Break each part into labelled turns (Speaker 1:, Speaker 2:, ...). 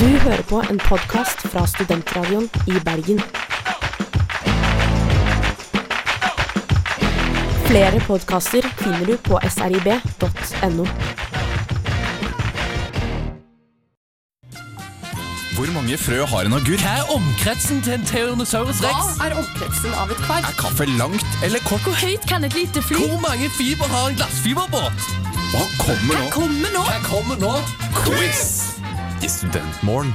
Speaker 1: Du hører på en podkast fra Studentradioen i Bergen. Flere podkaster finner du på srib.no.
Speaker 2: Hvor mange frø har en agurk?
Speaker 3: Hva er omkretsen til en Tyrannosaurus rex?
Speaker 4: Hva er omkretsen av et kvar?
Speaker 2: Er kaffe langt eller kort?
Speaker 5: Hvor høyt kan et lite fly?
Speaker 3: Hvor mange fiber har en glassfiberbåt?
Speaker 2: Hva kommer nå?
Speaker 5: Kommer nå!
Speaker 3: Hva kommer nå?
Speaker 2: Quiz! I Studentmorgen.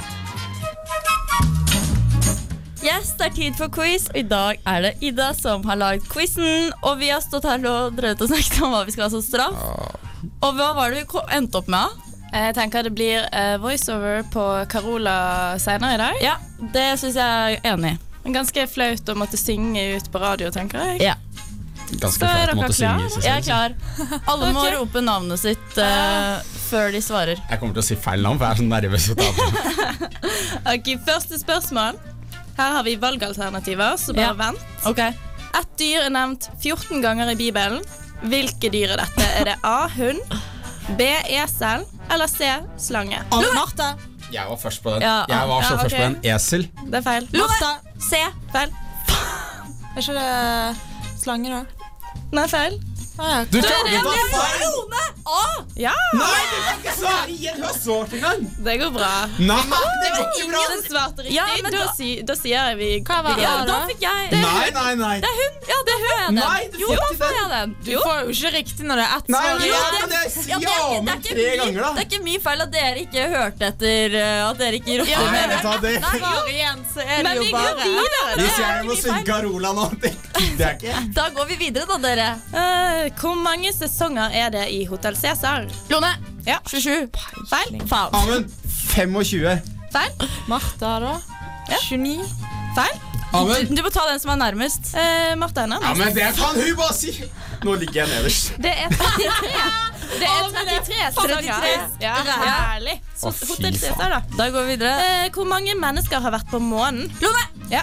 Speaker 5: Yes, det er tid for quiz, og i dag er det Ida som har lagd quizen. Og vi har stått her og drevet og snakket om hva vi skal ha som straff. Og hva var det vi ko- endte opp med?
Speaker 6: Jeg tenker det blir eh, voiceover på Carola senere i dag.
Speaker 5: Ja, det syns jeg er enig i.
Speaker 6: Ganske flaut å måtte synge ut på radio, tenker jeg.
Speaker 5: Ja.
Speaker 2: Ganske
Speaker 6: Så er
Speaker 2: flaut å
Speaker 6: dere
Speaker 2: måtte
Speaker 6: klar?
Speaker 2: synge i seg
Speaker 5: Jeg er
Speaker 2: selv.
Speaker 5: klar. Alle må
Speaker 6: Ok.
Speaker 5: rope navnet sitt eh, før de svarer.
Speaker 2: Jeg kommer til å si feil navn, for jeg er så nervøs. at jeg-
Speaker 6: Ok, Første spørsmål. Her har vi valgalternativer, så bare
Speaker 5: Ja.
Speaker 6: vent.
Speaker 5: Ok.
Speaker 6: Ett dyr er nevnt 14 ganger i Bibelen. Hvilke dyr er dette? Er det A. Hund, B. Esel eller C. Slange?
Speaker 5: Martha.
Speaker 2: Jeg var først på den.
Speaker 5: Ja,
Speaker 2: Jeg var så
Speaker 6: ja,
Speaker 2: først
Speaker 6: ok.
Speaker 2: på den. Esel.
Speaker 6: Det er feil.
Speaker 5: Martha. Se.
Speaker 6: Feil.
Speaker 7: Er ikke det slanger, da?
Speaker 6: Nei, feil.
Speaker 7: Ah, ja.
Speaker 2: Du tar
Speaker 6: det
Speaker 2: av feil!
Speaker 6: Ja,
Speaker 2: Nei, du kan ikke svare igjen! Du har svart engang!
Speaker 6: det går bra.
Speaker 2: Nei, det var ikke bra!
Speaker 6: Ingen svarte riktig.
Speaker 5: Ja, men
Speaker 6: da,
Speaker 5: da-
Speaker 6: si, da sier jeg vi
Speaker 7: Hva var
Speaker 5: Ja,
Speaker 7: A,
Speaker 5: da
Speaker 7: da?
Speaker 5: fikk jeg
Speaker 2: Nei, nei, nei.
Speaker 5: Det er hun! Ja, det er hun.
Speaker 2: Nei, du
Speaker 5: jo,
Speaker 2: får
Speaker 5: da
Speaker 2: ikke
Speaker 5: får
Speaker 2: den.
Speaker 5: jeg den.
Speaker 7: Du får jo ikke riktig når det er ett
Speaker 2: Nei,
Speaker 7: svar.
Speaker 2: men
Speaker 5: Jo,
Speaker 2: ja,
Speaker 5: det-
Speaker 2: men jeg sier
Speaker 5: Ja, det,
Speaker 2: ja,
Speaker 5: er ikke-
Speaker 2: men
Speaker 5: det, er
Speaker 2: tre
Speaker 5: ikke min,
Speaker 2: ganger,
Speaker 5: det
Speaker 2: da.
Speaker 5: er ikke min feil at dere ikke hørte etter uh, At dere ikke ropte
Speaker 7: Ja,
Speaker 5: mer.
Speaker 7: men-
Speaker 2: Nei, ta det.
Speaker 7: Svar igjen, så er det
Speaker 6: Men
Speaker 7: jo
Speaker 6: vi går
Speaker 7: bare
Speaker 6: videre.
Speaker 2: Hvis
Speaker 5: det er
Speaker 2: jeg
Speaker 5: ikke
Speaker 2: må
Speaker 5: min
Speaker 2: synge
Speaker 5: feil.
Speaker 2: Carola nå, det gidder jeg ikke.
Speaker 5: Da går vi videre, da, dere.
Speaker 6: Eh, hvor mange sesonger er det i Hotell Cæsar?
Speaker 5: Lone.
Speaker 6: Ja.
Speaker 5: 27.
Speaker 6: Feil.
Speaker 5: Faen.
Speaker 2: Amund, 25.
Speaker 6: Feil.
Speaker 7: Martha, da. 29.
Speaker 6: Feil.
Speaker 2: Amund,
Speaker 5: Du må ta den som er nærmest.
Speaker 6: Uh, Martha er
Speaker 2: Ja,
Speaker 6: nærmest.
Speaker 2: men det kan hun bare si! Nå ligger jeg nederst.
Speaker 6: Det er 33. Det er 33 sesonger.
Speaker 5: 33.
Speaker 6: Ja, herlig. Så
Speaker 2: Å, fy
Speaker 6: Hotell Cæsar,
Speaker 2: faen.
Speaker 6: da.
Speaker 5: Da går vi videre.
Speaker 6: Eh, hvor mange mennesker har vært på månen?
Speaker 5: Lone!
Speaker 6: Ja.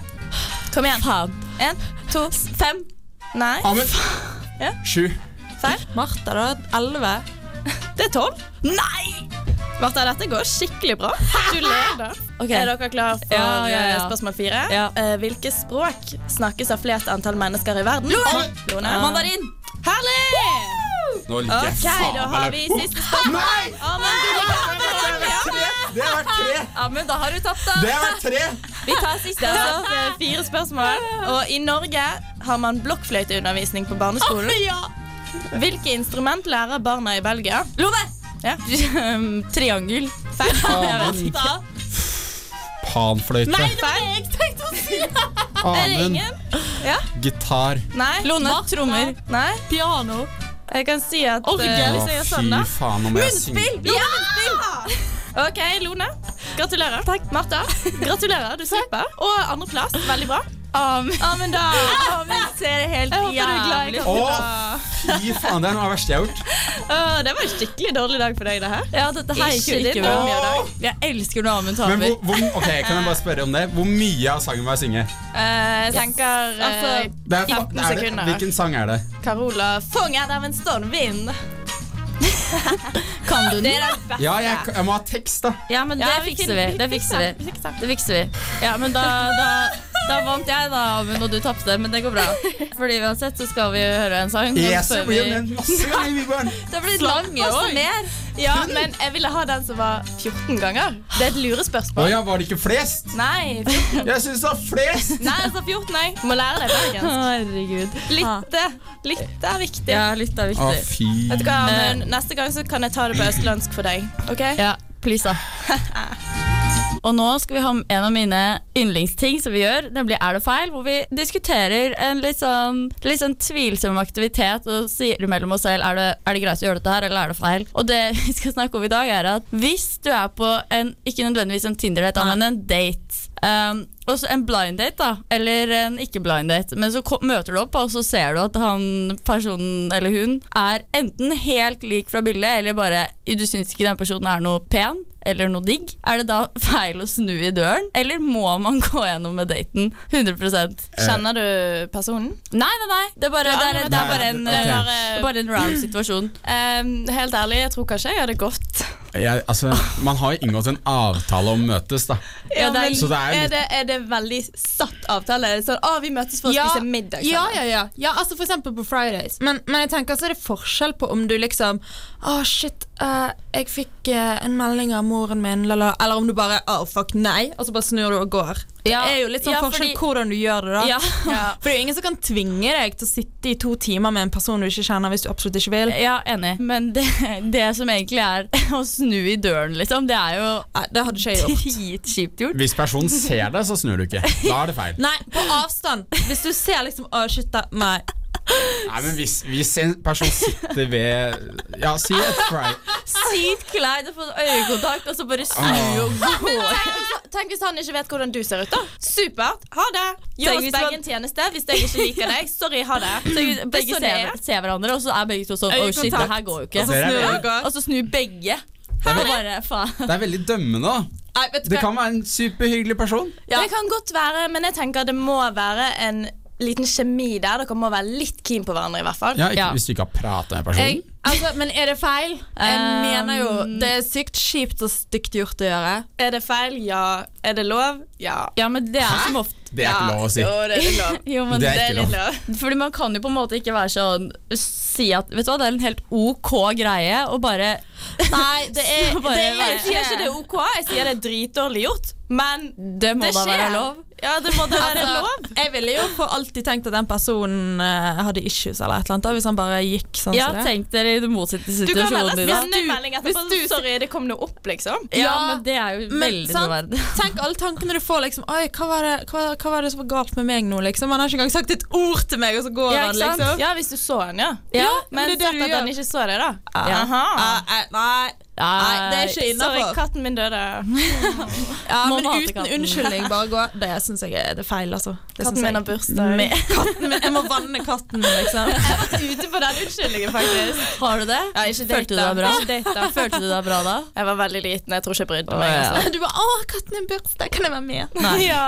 Speaker 5: Kom igjen. Faen.
Speaker 6: En,
Speaker 5: To. Fem.
Speaker 6: nei,
Speaker 2: Amund,
Speaker 6: Ja.
Speaker 2: sju.
Speaker 6: feil.
Speaker 7: Martha, da. 11.
Speaker 6: Det er 12.
Speaker 5: Nei!
Speaker 6: Martha, dette går skikkelig bra. Du leder.
Speaker 5: Ok.
Speaker 6: Er dere klar for
Speaker 5: Ja, ja, ja.
Speaker 6: eh, spørsmål fire?
Speaker 5: Ja.
Speaker 6: Eh, hvilke språk snakkes av flest antall mennesker i verden?
Speaker 5: Lone!
Speaker 6: Lone.
Speaker 5: Mandarin.
Speaker 6: Herlig!
Speaker 2: Nå ligger jeg
Speaker 6: Ok, da
Speaker 2: faen
Speaker 6: har
Speaker 2: meg
Speaker 6: vi
Speaker 2: langt.
Speaker 6: siste spørsmål.
Speaker 2: Nei!
Speaker 6: Amund, du
Speaker 2: Det har vært tre! Det har vært tre!
Speaker 5: Ja, men da har du tapt, da.
Speaker 2: Det har vært tre!
Speaker 5: Vi tar siste.
Speaker 6: Det har vært eh, fire spørsmål. Og i Norge har man blokkfløyteundervisning på barneskolen.
Speaker 5: Ja.
Speaker 6: Hvilke instrument lærer barna i Belgia?
Speaker 5: Lone!
Speaker 6: Ja.
Speaker 5: Um, Triangel.
Speaker 6: Feil.
Speaker 2: Panfløyte.
Speaker 6: Feil. Er det
Speaker 2: Amund.
Speaker 6: ingen?
Speaker 2: Gitar.
Speaker 6: Nei.
Speaker 5: Lone. Trommer.
Speaker 6: Nei.
Speaker 7: Piano.
Speaker 6: Jeg kan si at
Speaker 5: Orgel.
Speaker 6: eh, hvis jeg gjør sånn, da.
Speaker 2: faen, nå må jeg synge.
Speaker 5: Ja!
Speaker 6: OK, Lone. Gratulerer. Takk. Martha, gratulerer. Du slipper. Og andreplass. Veldig bra. Amund, da.
Speaker 5: Amund ser helt
Speaker 6: Jeg håper du er glad i
Speaker 5: jævlig
Speaker 2: Å,
Speaker 6: kaffen.
Speaker 2: fy faen, det er noe av det verste jeg har gjort.
Speaker 6: Å, Det var en skikkelig dårlig dag for deg, det her.
Speaker 5: Ja, dette her gikk jo
Speaker 6: Ikke
Speaker 5: ikke
Speaker 6: din
Speaker 5: bra.
Speaker 6: dårlige dag.
Speaker 5: Jeg elsker når Amund
Speaker 2: Men
Speaker 5: taper.
Speaker 2: hvor, hvor, ok, Kan jeg bare spørre om det? Hvor mye av sangen må jeg synge?
Speaker 6: Eh, Jeg tenker
Speaker 5: Altså,
Speaker 2: Det er,
Speaker 6: 15
Speaker 2: fa- er det,
Speaker 6: sekunder.
Speaker 2: hvilken sang er det?
Speaker 6: Carola fanget av en stormvind.
Speaker 5: Kan du den?
Speaker 2: Ja, jeg, jeg må ha tekst, da.
Speaker 5: Ja, men det
Speaker 6: Ja, vi
Speaker 5: fikser
Speaker 6: fin-
Speaker 5: vi.
Speaker 6: vi
Speaker 5: Det fikser vi.
Speaker 6: fikser.
Speaker 5: Det fikser vi. Ja, men da, da, da vant jeg, da, Amund, og du tapte. Men det går bra. Fordi uansett så skal vi høre en sang. og så
Speaker 2: Yes,
Speaker 5: får
Speaker 2: jeg
Speaker 5: vi-
Speaker 2: blir med masse ganger, Vibjørn.
Speaker 5: Det blir langt masse
Speaker 6: oi.
Speaker 5: mer.
Speaker 6: Ja, men jeg ville ha den som var 14 ganger. Det er et
Speaker 2: Å
Speaker 6: lurespørsmål.
Speaker 2: ja, var det ikke flest?
Speaker 6: Nei, 14.
Speaker 2: Jeg syns det var flest!
Speaker 6: Nei, altså 14, nei. Du må lære deg bergensk.
Speaker 5: Herregud.
Speaker 6: Lytte. Lytte er viktig.
Speaker 5: Ja, litt er
Speaker 2: Å,
Speaker 5: viktig.
Speaker 2: fy
Speaker 6: Vet du hva, Amund? Neste gang så kan jeg ta det på østlandsk for deg. Ok?
Speaker 5: Ja, please da Og nå skal vi ha en av mine yndlingsting som vi gjør, nemlig Er det feil? Hvor vi diskuterer en litt sånn, litt sånn tvilsom aktivitet og sier mellom oss selv er det, er det greit å gjøre dette her, eller er det feil? Og det vi skal snakke om i dag, er at hvis du er på en, ikke nødvendigvis en Tinder-date, da, men en date um, og så en blind date, da. Eller en ikke-blind date. Men så ko- møter du opp, og så ser du at han personen eller hun er enten helt lik fra bildet, eller bare du syns ikke den personen er noe pen eller noe digg. Er det da feil å snu i døren, eller må man gå gjennom med daten? 100 Nei,
Speaker 2: Eh.
Speaker 6: Kjenner du personen?
Speaker 5: nei, nei. Det er bare, det er, det er bare, en,
Speaker 2: Nei,
Speaker 5: eh, bare en round situasjon.
Speaker 6: Ehm, helt ærlig, jeg tror kanskje jeg hadde gått.
Speaker 2: jeg, altså, Man har jo inngått en avtale om å møtes, da.
Speaker 5: Ja, det er-
Speaker 6: men
Speaker 2: Så det er
Speaker 6: er,
Speaker 2: litt-
Speaker 6: det, er det veldig satt avtale? Er det sånn, ah, vi møtes for å
Speaker 7: Ja,
Speaker 6: spise middag
Speaker 7: Ja, ja, ja. ja altså for eksempel på Fridays. Men, men jeg tenker så er det forskjell på om du liksom Å, shit, eh, jeg fikk eh, en melding av moren min, la, la. Eller om du bare Å, fuck, nei. Og så bare snur du og går.
Speaker 5: Ja,
Speaker 7: det er jo litt sånn
Speaker 5: ja,
Speaker 7: forskjell
Speaker 5: fordi-
Speaker 7: hvordan du gjør det, da.
Speaker 5: Ja.
Speaker 7: For det er jo ingen som kan tvinge deg til å sitte i to timer med en person du ikke kjenner, hvis du absolutt ikke vil.
Speaker 5: Ja, enig. Men det, det som egentlig er å snu i døren, liksom, det er jo
Speaker 7: Nei, det hadde ikke jeg gjort.
Speaker 5: dritkjipt gjort.
Speaker 2: Hvis personen ser deg, så snur du ikke. Da er det feil.
Speaker 7: Nei, på avstand. Hvis du ser liksom Å, shit, da. Nei.
Speaker 2: Nei, men hvis, hvis en person sitter ved Ja, si et fry...
Speaker 5: Sykt kleint å få øyekontakt, og så bare snu og gå.
Speaker 6: Tenk hvis han ikke vet hvordan du ser ut, da. Supert. Ha det. Gjør
Speaker 5: Tenk
Speaker 6: oss
Speaker 5: hvis
Speaker 6: begge
Speaker 5: man-
Speaker 6: en tjeneste hvis jeg ikke liker deg. Sorry, ha det.
Speaker 5: Så
Speaker 6: Det er
Speaker 5: Begge
Speaker 6: sånn
Speaker 5: ser,
Speaker 6: det er.
Speaker 5: ser hverandre, og så er begge to sånn Å, shit, det her går jo ikke.
Speaker 7: Og så snur du og går.
Speaker 5: Og så snur begge. Og bare, faen.
Speaker 2: Det er veldig dømmende, da.
Speaker 7: Nei, vet du
Speaker 2: Det
Speaker 7: hva.
Speaker 2: kan være en superhyggelig person.
Speaker 5: Ja.
Speaker 6: Det kan godt være, men jeg tenker det må være en liten kjemi der. Dere må være litt keen på hverandre, i hvert fall.
Speaker 2: Ja, ikke,
Speaker 5: Ja.
Speaker 2: Hvis du ikke har prata med
Speaker 7: Jeg,
Speaker 2: personen.
Speaker 7: altså, men er det feil? Jeg
Speaker 5: Um,
Speaker 7: mener jo Det er sykt kjipt og stygt gjort å gjøre.
Speaker 6: Er det feil? Ja. Er det lov? Ja.
Speaker 5: Ja, men det er som ofte
Speaker 2: Det er ikke lov å si.
Speaker 6: Jo, det er lov.
Speaker 5: jo, men det
Speaker 2: Det er ikke
Speaker 6: Det er litt lov.
Speaker 5: Fordi man kan jo på en måte ikke være sånn Si at Vet du hva, det er en helt OK greie, og bare
Speaker 7: Nei, det er,
Speaker 5: Så bare-
Speaker 7: det er
Speaker 6: Jeg sier ikke det er OK, jeg sier det er dritdårlig gjort, men
Speaker 5: Det må
Speaker 6: det
Speaker 5: da være
Speaker 6: skjer.
Speaker 5: lov.
Speaker 6: Ja, det må da være
Speaker 7: Altså,
Speaker 6: lov.
Speaker 7: jeg ville jo for alltid tenkt at den personen eh, hadde issues eller et eller annet, da, hvis han bare gikk sånn
Speaker 5: Ja,
Speaker 7: som det.
Speaker 5: tenk dere i den motsatte
Speaker 6: Du kan vel
Speaker 5: situasjonen din. da.
Speaker 6: sende en melding etterpå. Sorry, det kom noe opp, liksom.
Speaker 5: Ja,
Speaker 7: Ja,
Speaker 5: men det er jo
Speaker 7: men
Speaker 5: veldig
Speaker 7: sant?
Speaker 5: noe verden.
Speaker 7: Tenk alle tankene du får. liksom Oi, hva var, det, hva, hva var det som var galt med meg nå? liksom Han har ikke engang sagt et ord til meg, og så går
Speaker 5: Ja,
Speaker 7: han,
Speaker 5: ikke sant?
Speaker 7: liksom.
Speaker 6: Ja, hvis du så den, ja.
Speaker 5: Ja,
Speaker 6: Men
Speaker 7: det er det
Speaker 6: sett
Speaker 7: du
Speaker 6: at den
Speaker 7: gjør.
Speaker 6: ikke så deg, da.
Speaker 7: Ja.
Speaker 6: Aha.
Speaker 7: Eh, eh, nei, nei, det er ikke
Speaker 6: Sorry,
Speaker 7: innafor.
Speaker 6: katten min døde.
Speaker 7: Ja,
Speaker 5: Må
Speaker 7: men
Speaker 5: mate
Speaker 7: uten
Speaker 5: katten.
Speaker 7: unnskyldning, bare gå. Det syns jeg er det er feil, altså. Det
Speaker 6: Katten
Speaker 7: synes
Speaker 6: min har
Speaker 7: jeg.
Speaker 6: bursdag.
Speaker 7: Katten min, jeg må vanne katten, liksom.
Speaker 6: Ute på den unnskyldningen, faktisk.
Speaker 5: Har du det?
Speaker 6: Ja, ikke
Speaker 5: Følte du
Speaker 6: date, da.
Speaker 5: deg bra?
Speaker 6: Ikke date, da.
Speaker 5: Følte du deg bra da?
Speaker 6: Jeg var veldig liten, jeg tror ikke jeg brydde
Speaker 5: Å,
Speaker 6: meg.
Speaker 5: ja.
Speaker 6: Altså.
Speaker 7: Du bare 'Å, katten min bursdag, kan jeg være med?'
Speaker 5: Nei.
Speaker 6: Ja.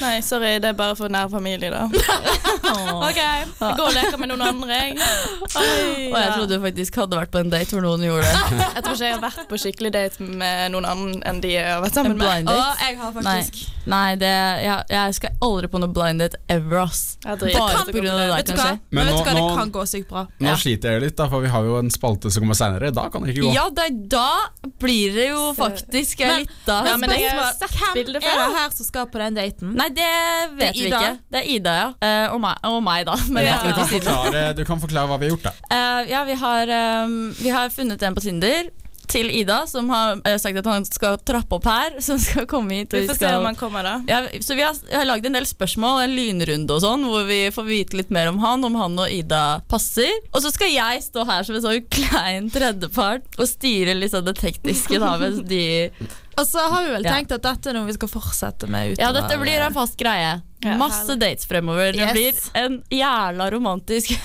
Speaker 6: Nei, sorry, det er bare for nær familie, da.
Speaker 5: Åh.
Speaker 6: OK, jeg går og leker med noen andre, jeg. Oi,
Speaker 5: Og jeg
Speaker 6: ja.
Speaker 5: trodde du faktisk hadde vært på en date hvor noen gjorde det.
Speaker 6: Jeg tror ikke jeg har vært på skikkelig date med noen annen enn de jeg har vært sammen
Speaker 5: En
Speaker 6: med.
Speaker 5: blind
Speaker 7: Å,
Speaker 5: date.
Speaker 7: jeg har
Speaker 5: Nei,
Speaker 7: faktisk
Speaker 5: Nei det, jeg, jeg skal aldri på noe blind date ever, ass.
Speaker 6: Jeg driter.
Speaker 5: Bare
Speaker 6: Det kan-
Speaker 5: på grunn av det der,
Speaker 7: Vet du hva?
Speaker 5: kanskje.
Speaker 2: Men
Speaker 7: Men vet
Speaker 2: nå-
Speaker 7: du hva?
Speaker 2: nå-
Speaker 7: Det kan gå sykt bra.
Speaker 2: Nå
Speaker 5: Ja.
Speaker 2: sliter jeg litt, da, for vi har jo en spalte som kommer seinere. Da kan det ikke gå.
Speaker 5: Ja, da, da blir det jo faktisk
Speaker 7: Men-
Speaker 5: litt da.
Speaker 6: Ja, men jeg har
Speaker 7: Spørsmål,
Speaker 6: sett bildet
Speaker 7: Hvem er det
Speaker 6: før.
Speaker 7: her som skal på den daten?
Speaker 5: Nei, det
Speaker 7: Det er
Speaker 5: vet vi
Speaker 7: Ida.
Speaker 5: ikke. Det er Ida, ja. Eh, og, meg, og meg, da. Men jeg
Speaker 2: Du,
Speaker 5: skal
Speaker 2: kan
Speaker 5: ikke si det.
Speaker 2: forklare, du kan forklare hva vi har gjort, da.
Speaker 5: Eh, ja, vi har, ehm, vi har funnet en på Tinder til Ida, som har eh, sagt at han skal trappe opp her. Som skal komme hit. og
Speaker 6: Vi får se
Speaker 5: skal-
Speaker 6: om han kommer, da.
Speaker 5: ja, så vi har, jeg har lagd en del spørsmål, en lynrunde og sånn, hvor vi får vite litt mer om han, om han og Ida passer. Og så skal jeg stå her som en sånn klein tredjepart og styre litt sånn det tekniske, da, mens de
Speaker 7: Og så har vi vel
Speaker 5: Ja.
Speaker 7: tenkt at dette er noe vi skal fortsette med utover.
Speaker 5: Ja, dette blir en fast greie.
Speaker 6: Ja,
Speaker 5: Masse dates fremover.
Speaker 7: Yes.
Speaker 5: Det blir en jævla romantisk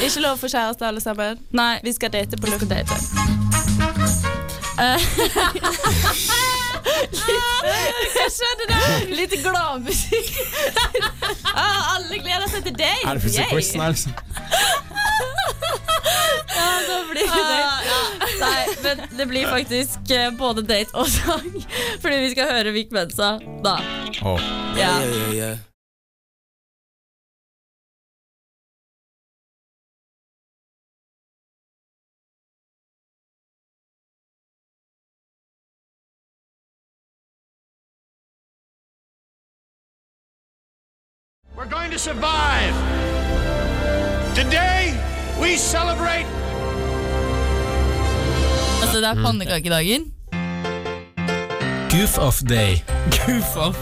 Speaker 6: Ikke lov for kjæreste, alle sammen.
Speaker 5: Nei,
Speaker 6: Vi skal date på luft. Eh. Jeg skjønner det!
Speaker 5: litt gladmusikk.
Speaker 6: Ah, alle gleder seg til date!
Speaker 2: Er det plutselig
Speaker 6: Yay!
Speaker 2: quizen her, liksom?
Speaker 5: Ah, ja. Nei, men det blir faktisk eh, både date og sang. Fordi vi skal høre Vic Mensa da.
Speaker 2: Åh.
Speaker 5: Ja.
Speaker 4: We're going to survive. Today, we celebrate
Speaker 5: Altså, det er pannekakedagen.
Speaker 2: Goof off day. Goof off.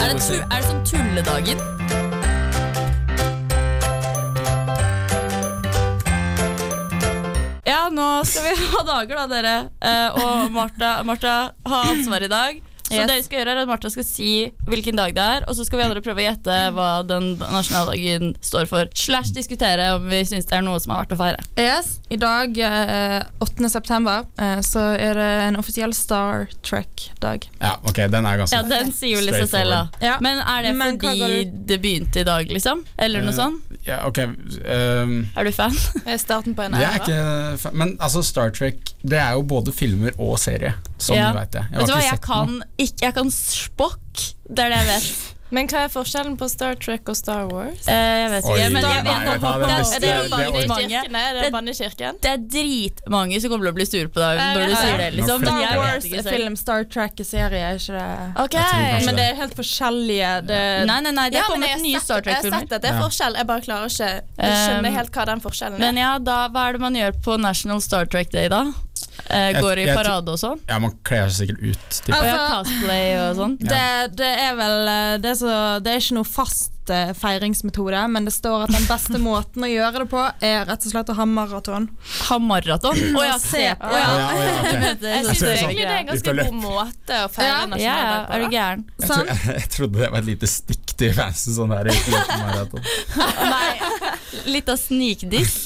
Speaker 5: Er det, tu er det sånn tulledagen? Ja, nå skal vi ha dager, da, dere. Eh, og Martha, Martha har ansvar i dag. Så det vi skal gjøre er at Martha skal si hvilken dag det er, og så skal vi andre prøve å gjette hva den nasjonaldagen står for. Slash diskutere om vi syns det er noe som er verdt å feire.
Speaker 7: Yes, I dag, eh, 8. september, eh, så er det en offisiell Star Trek-dag.
Speaker 2: Ja, ok, den er ganske
Speaker 5: Ja, Den sier jo litt seg selv, da.
Speaker 7: Ja.
Speaker 5: Men er det
Speaker 7: Men hva
Speaker 5: fordi
Speaker 7: går
Speaker 5: det begynte i dag, liksom? Eller noe
Speaker 2: Eh,
Speaker 5: sånt?
Speaker 2: Ja, ok ehm,
Speaker 5: Er du fan?
Speaker 6: Er starten på en
Speaker 2: Jeg er
Speaker 6: æra.
Speaker 2: ikke fa- Men altså, Star Trek Det er jo både filmer og serie, som
Speaker 5: Ja.
Speaker 2: du veit det. Jeg har
Speaker 5: Vet du hva,
Speaker 2: ikke
Speaker 5: jeg
Speaker 2: sett noe.
Speaker 5: kan, ikke, jeg kan spokk. Det er det jeg vet.
Speaker 6: Men hva er forskjellen på Star Trek og Star Wars?
Speaker 5: Eh, jeg vet ikke,
Speaker 2: Oi,
Speaker 5: men jeg
Speaker 2: nei,
Speaker 5: vet
Speaker 2: ta det
Speaker 5: at
Speaker 2: neste-
Speaker 5: det,
Speaker 2: det
Speaker 5: er
Speaker 2: orker-
Speaker 5: dritmange-
Speaker 6: Er det bannekirken?
Speaker 5: det er dritmange som kommer til å bli sure på deg
Speaker 6: Jeg
Speaker 5: når du
Speaker 6: vet
Speaker 5: sier det.
Speaker 2: det.
Speaker 5: liksom Men
Speaker 7: Star
Speaker 5: jeg
Speaker 7: Wars
Speaker 5: vet
Speaker 7: er
Speaker 5: ikke selv.
Speaker 7: film, Star Trek er serie, er ikke det?
Speaker 6: Ok.
Speaker 2: Jeg tror kanskje
Speaker 7: Men det er helt forskjellige det,
Speaker 5: Nei, nei, nei, det
Speaker 6: Ja, men
Speaker 5: kommer
Speaker 6: jeg har
Speaker 5: nye
Speaker 6: sett-
Speaker 5: Star
Speaker 6: Jeg har sett
Speaker 5: Trek-filmer.
Speaker 6: at det er
Speaker 2: Ja.
Speaker 6: forskjell, jeg bare klarer ikke å skjønne
Speaker 5: Um,
Speaker 6: helt hva den forskjellen
Speaker 5: Men
Speaker 6: er.
Speaker 5: ja, da, hva er det man gjør på National Star Trek Day, da? Eh,
Speaker 2: Jeg-
Speaker 5: går i
Speaker 2: jeg tror-
Speaker 5: parade og sånn?
Speaker 2: Ja, Man kler seg sikkert ut. Til.
Speaker 5: Og
Speaker 7: Altså-
Speaker 5: Ah, ja, cosplay og sånn?
Speaker 7: Det, det er vel eh, det, er så, det er ikke noe fast eh, feiringsmetode, men det står at den beste måten å gjøre det på, er rett og slett å ha maraton.
Speaker 5: Ha maraton? Å ja, se på! Ja.
Speaker 2: ja, ja, ok.
Speaker 5: Det
Speaker 6: Jeg
Speaker 5: er
Speaker 6: synes
Speaker 5: så-
Speaker 6: egentlig det er en
Speaker 2: Ut og
Speaker 6: ganske
Speaker 2: løp.
Speaker 6: god måte å feire
Speaker 7: Ja.
Speaker 5: Ja, ja,
Speaker 6: nasjonaldag
Speaker 5: er du
Speaker 6: på. da.
Speaker 5: gæren?
Speaker 2: Jeg, tror, jeg, trodde det var et lite stikk til fansen. Sånn der, i løpemaraton.
Speaker 5: Nei, litt av snikdiss.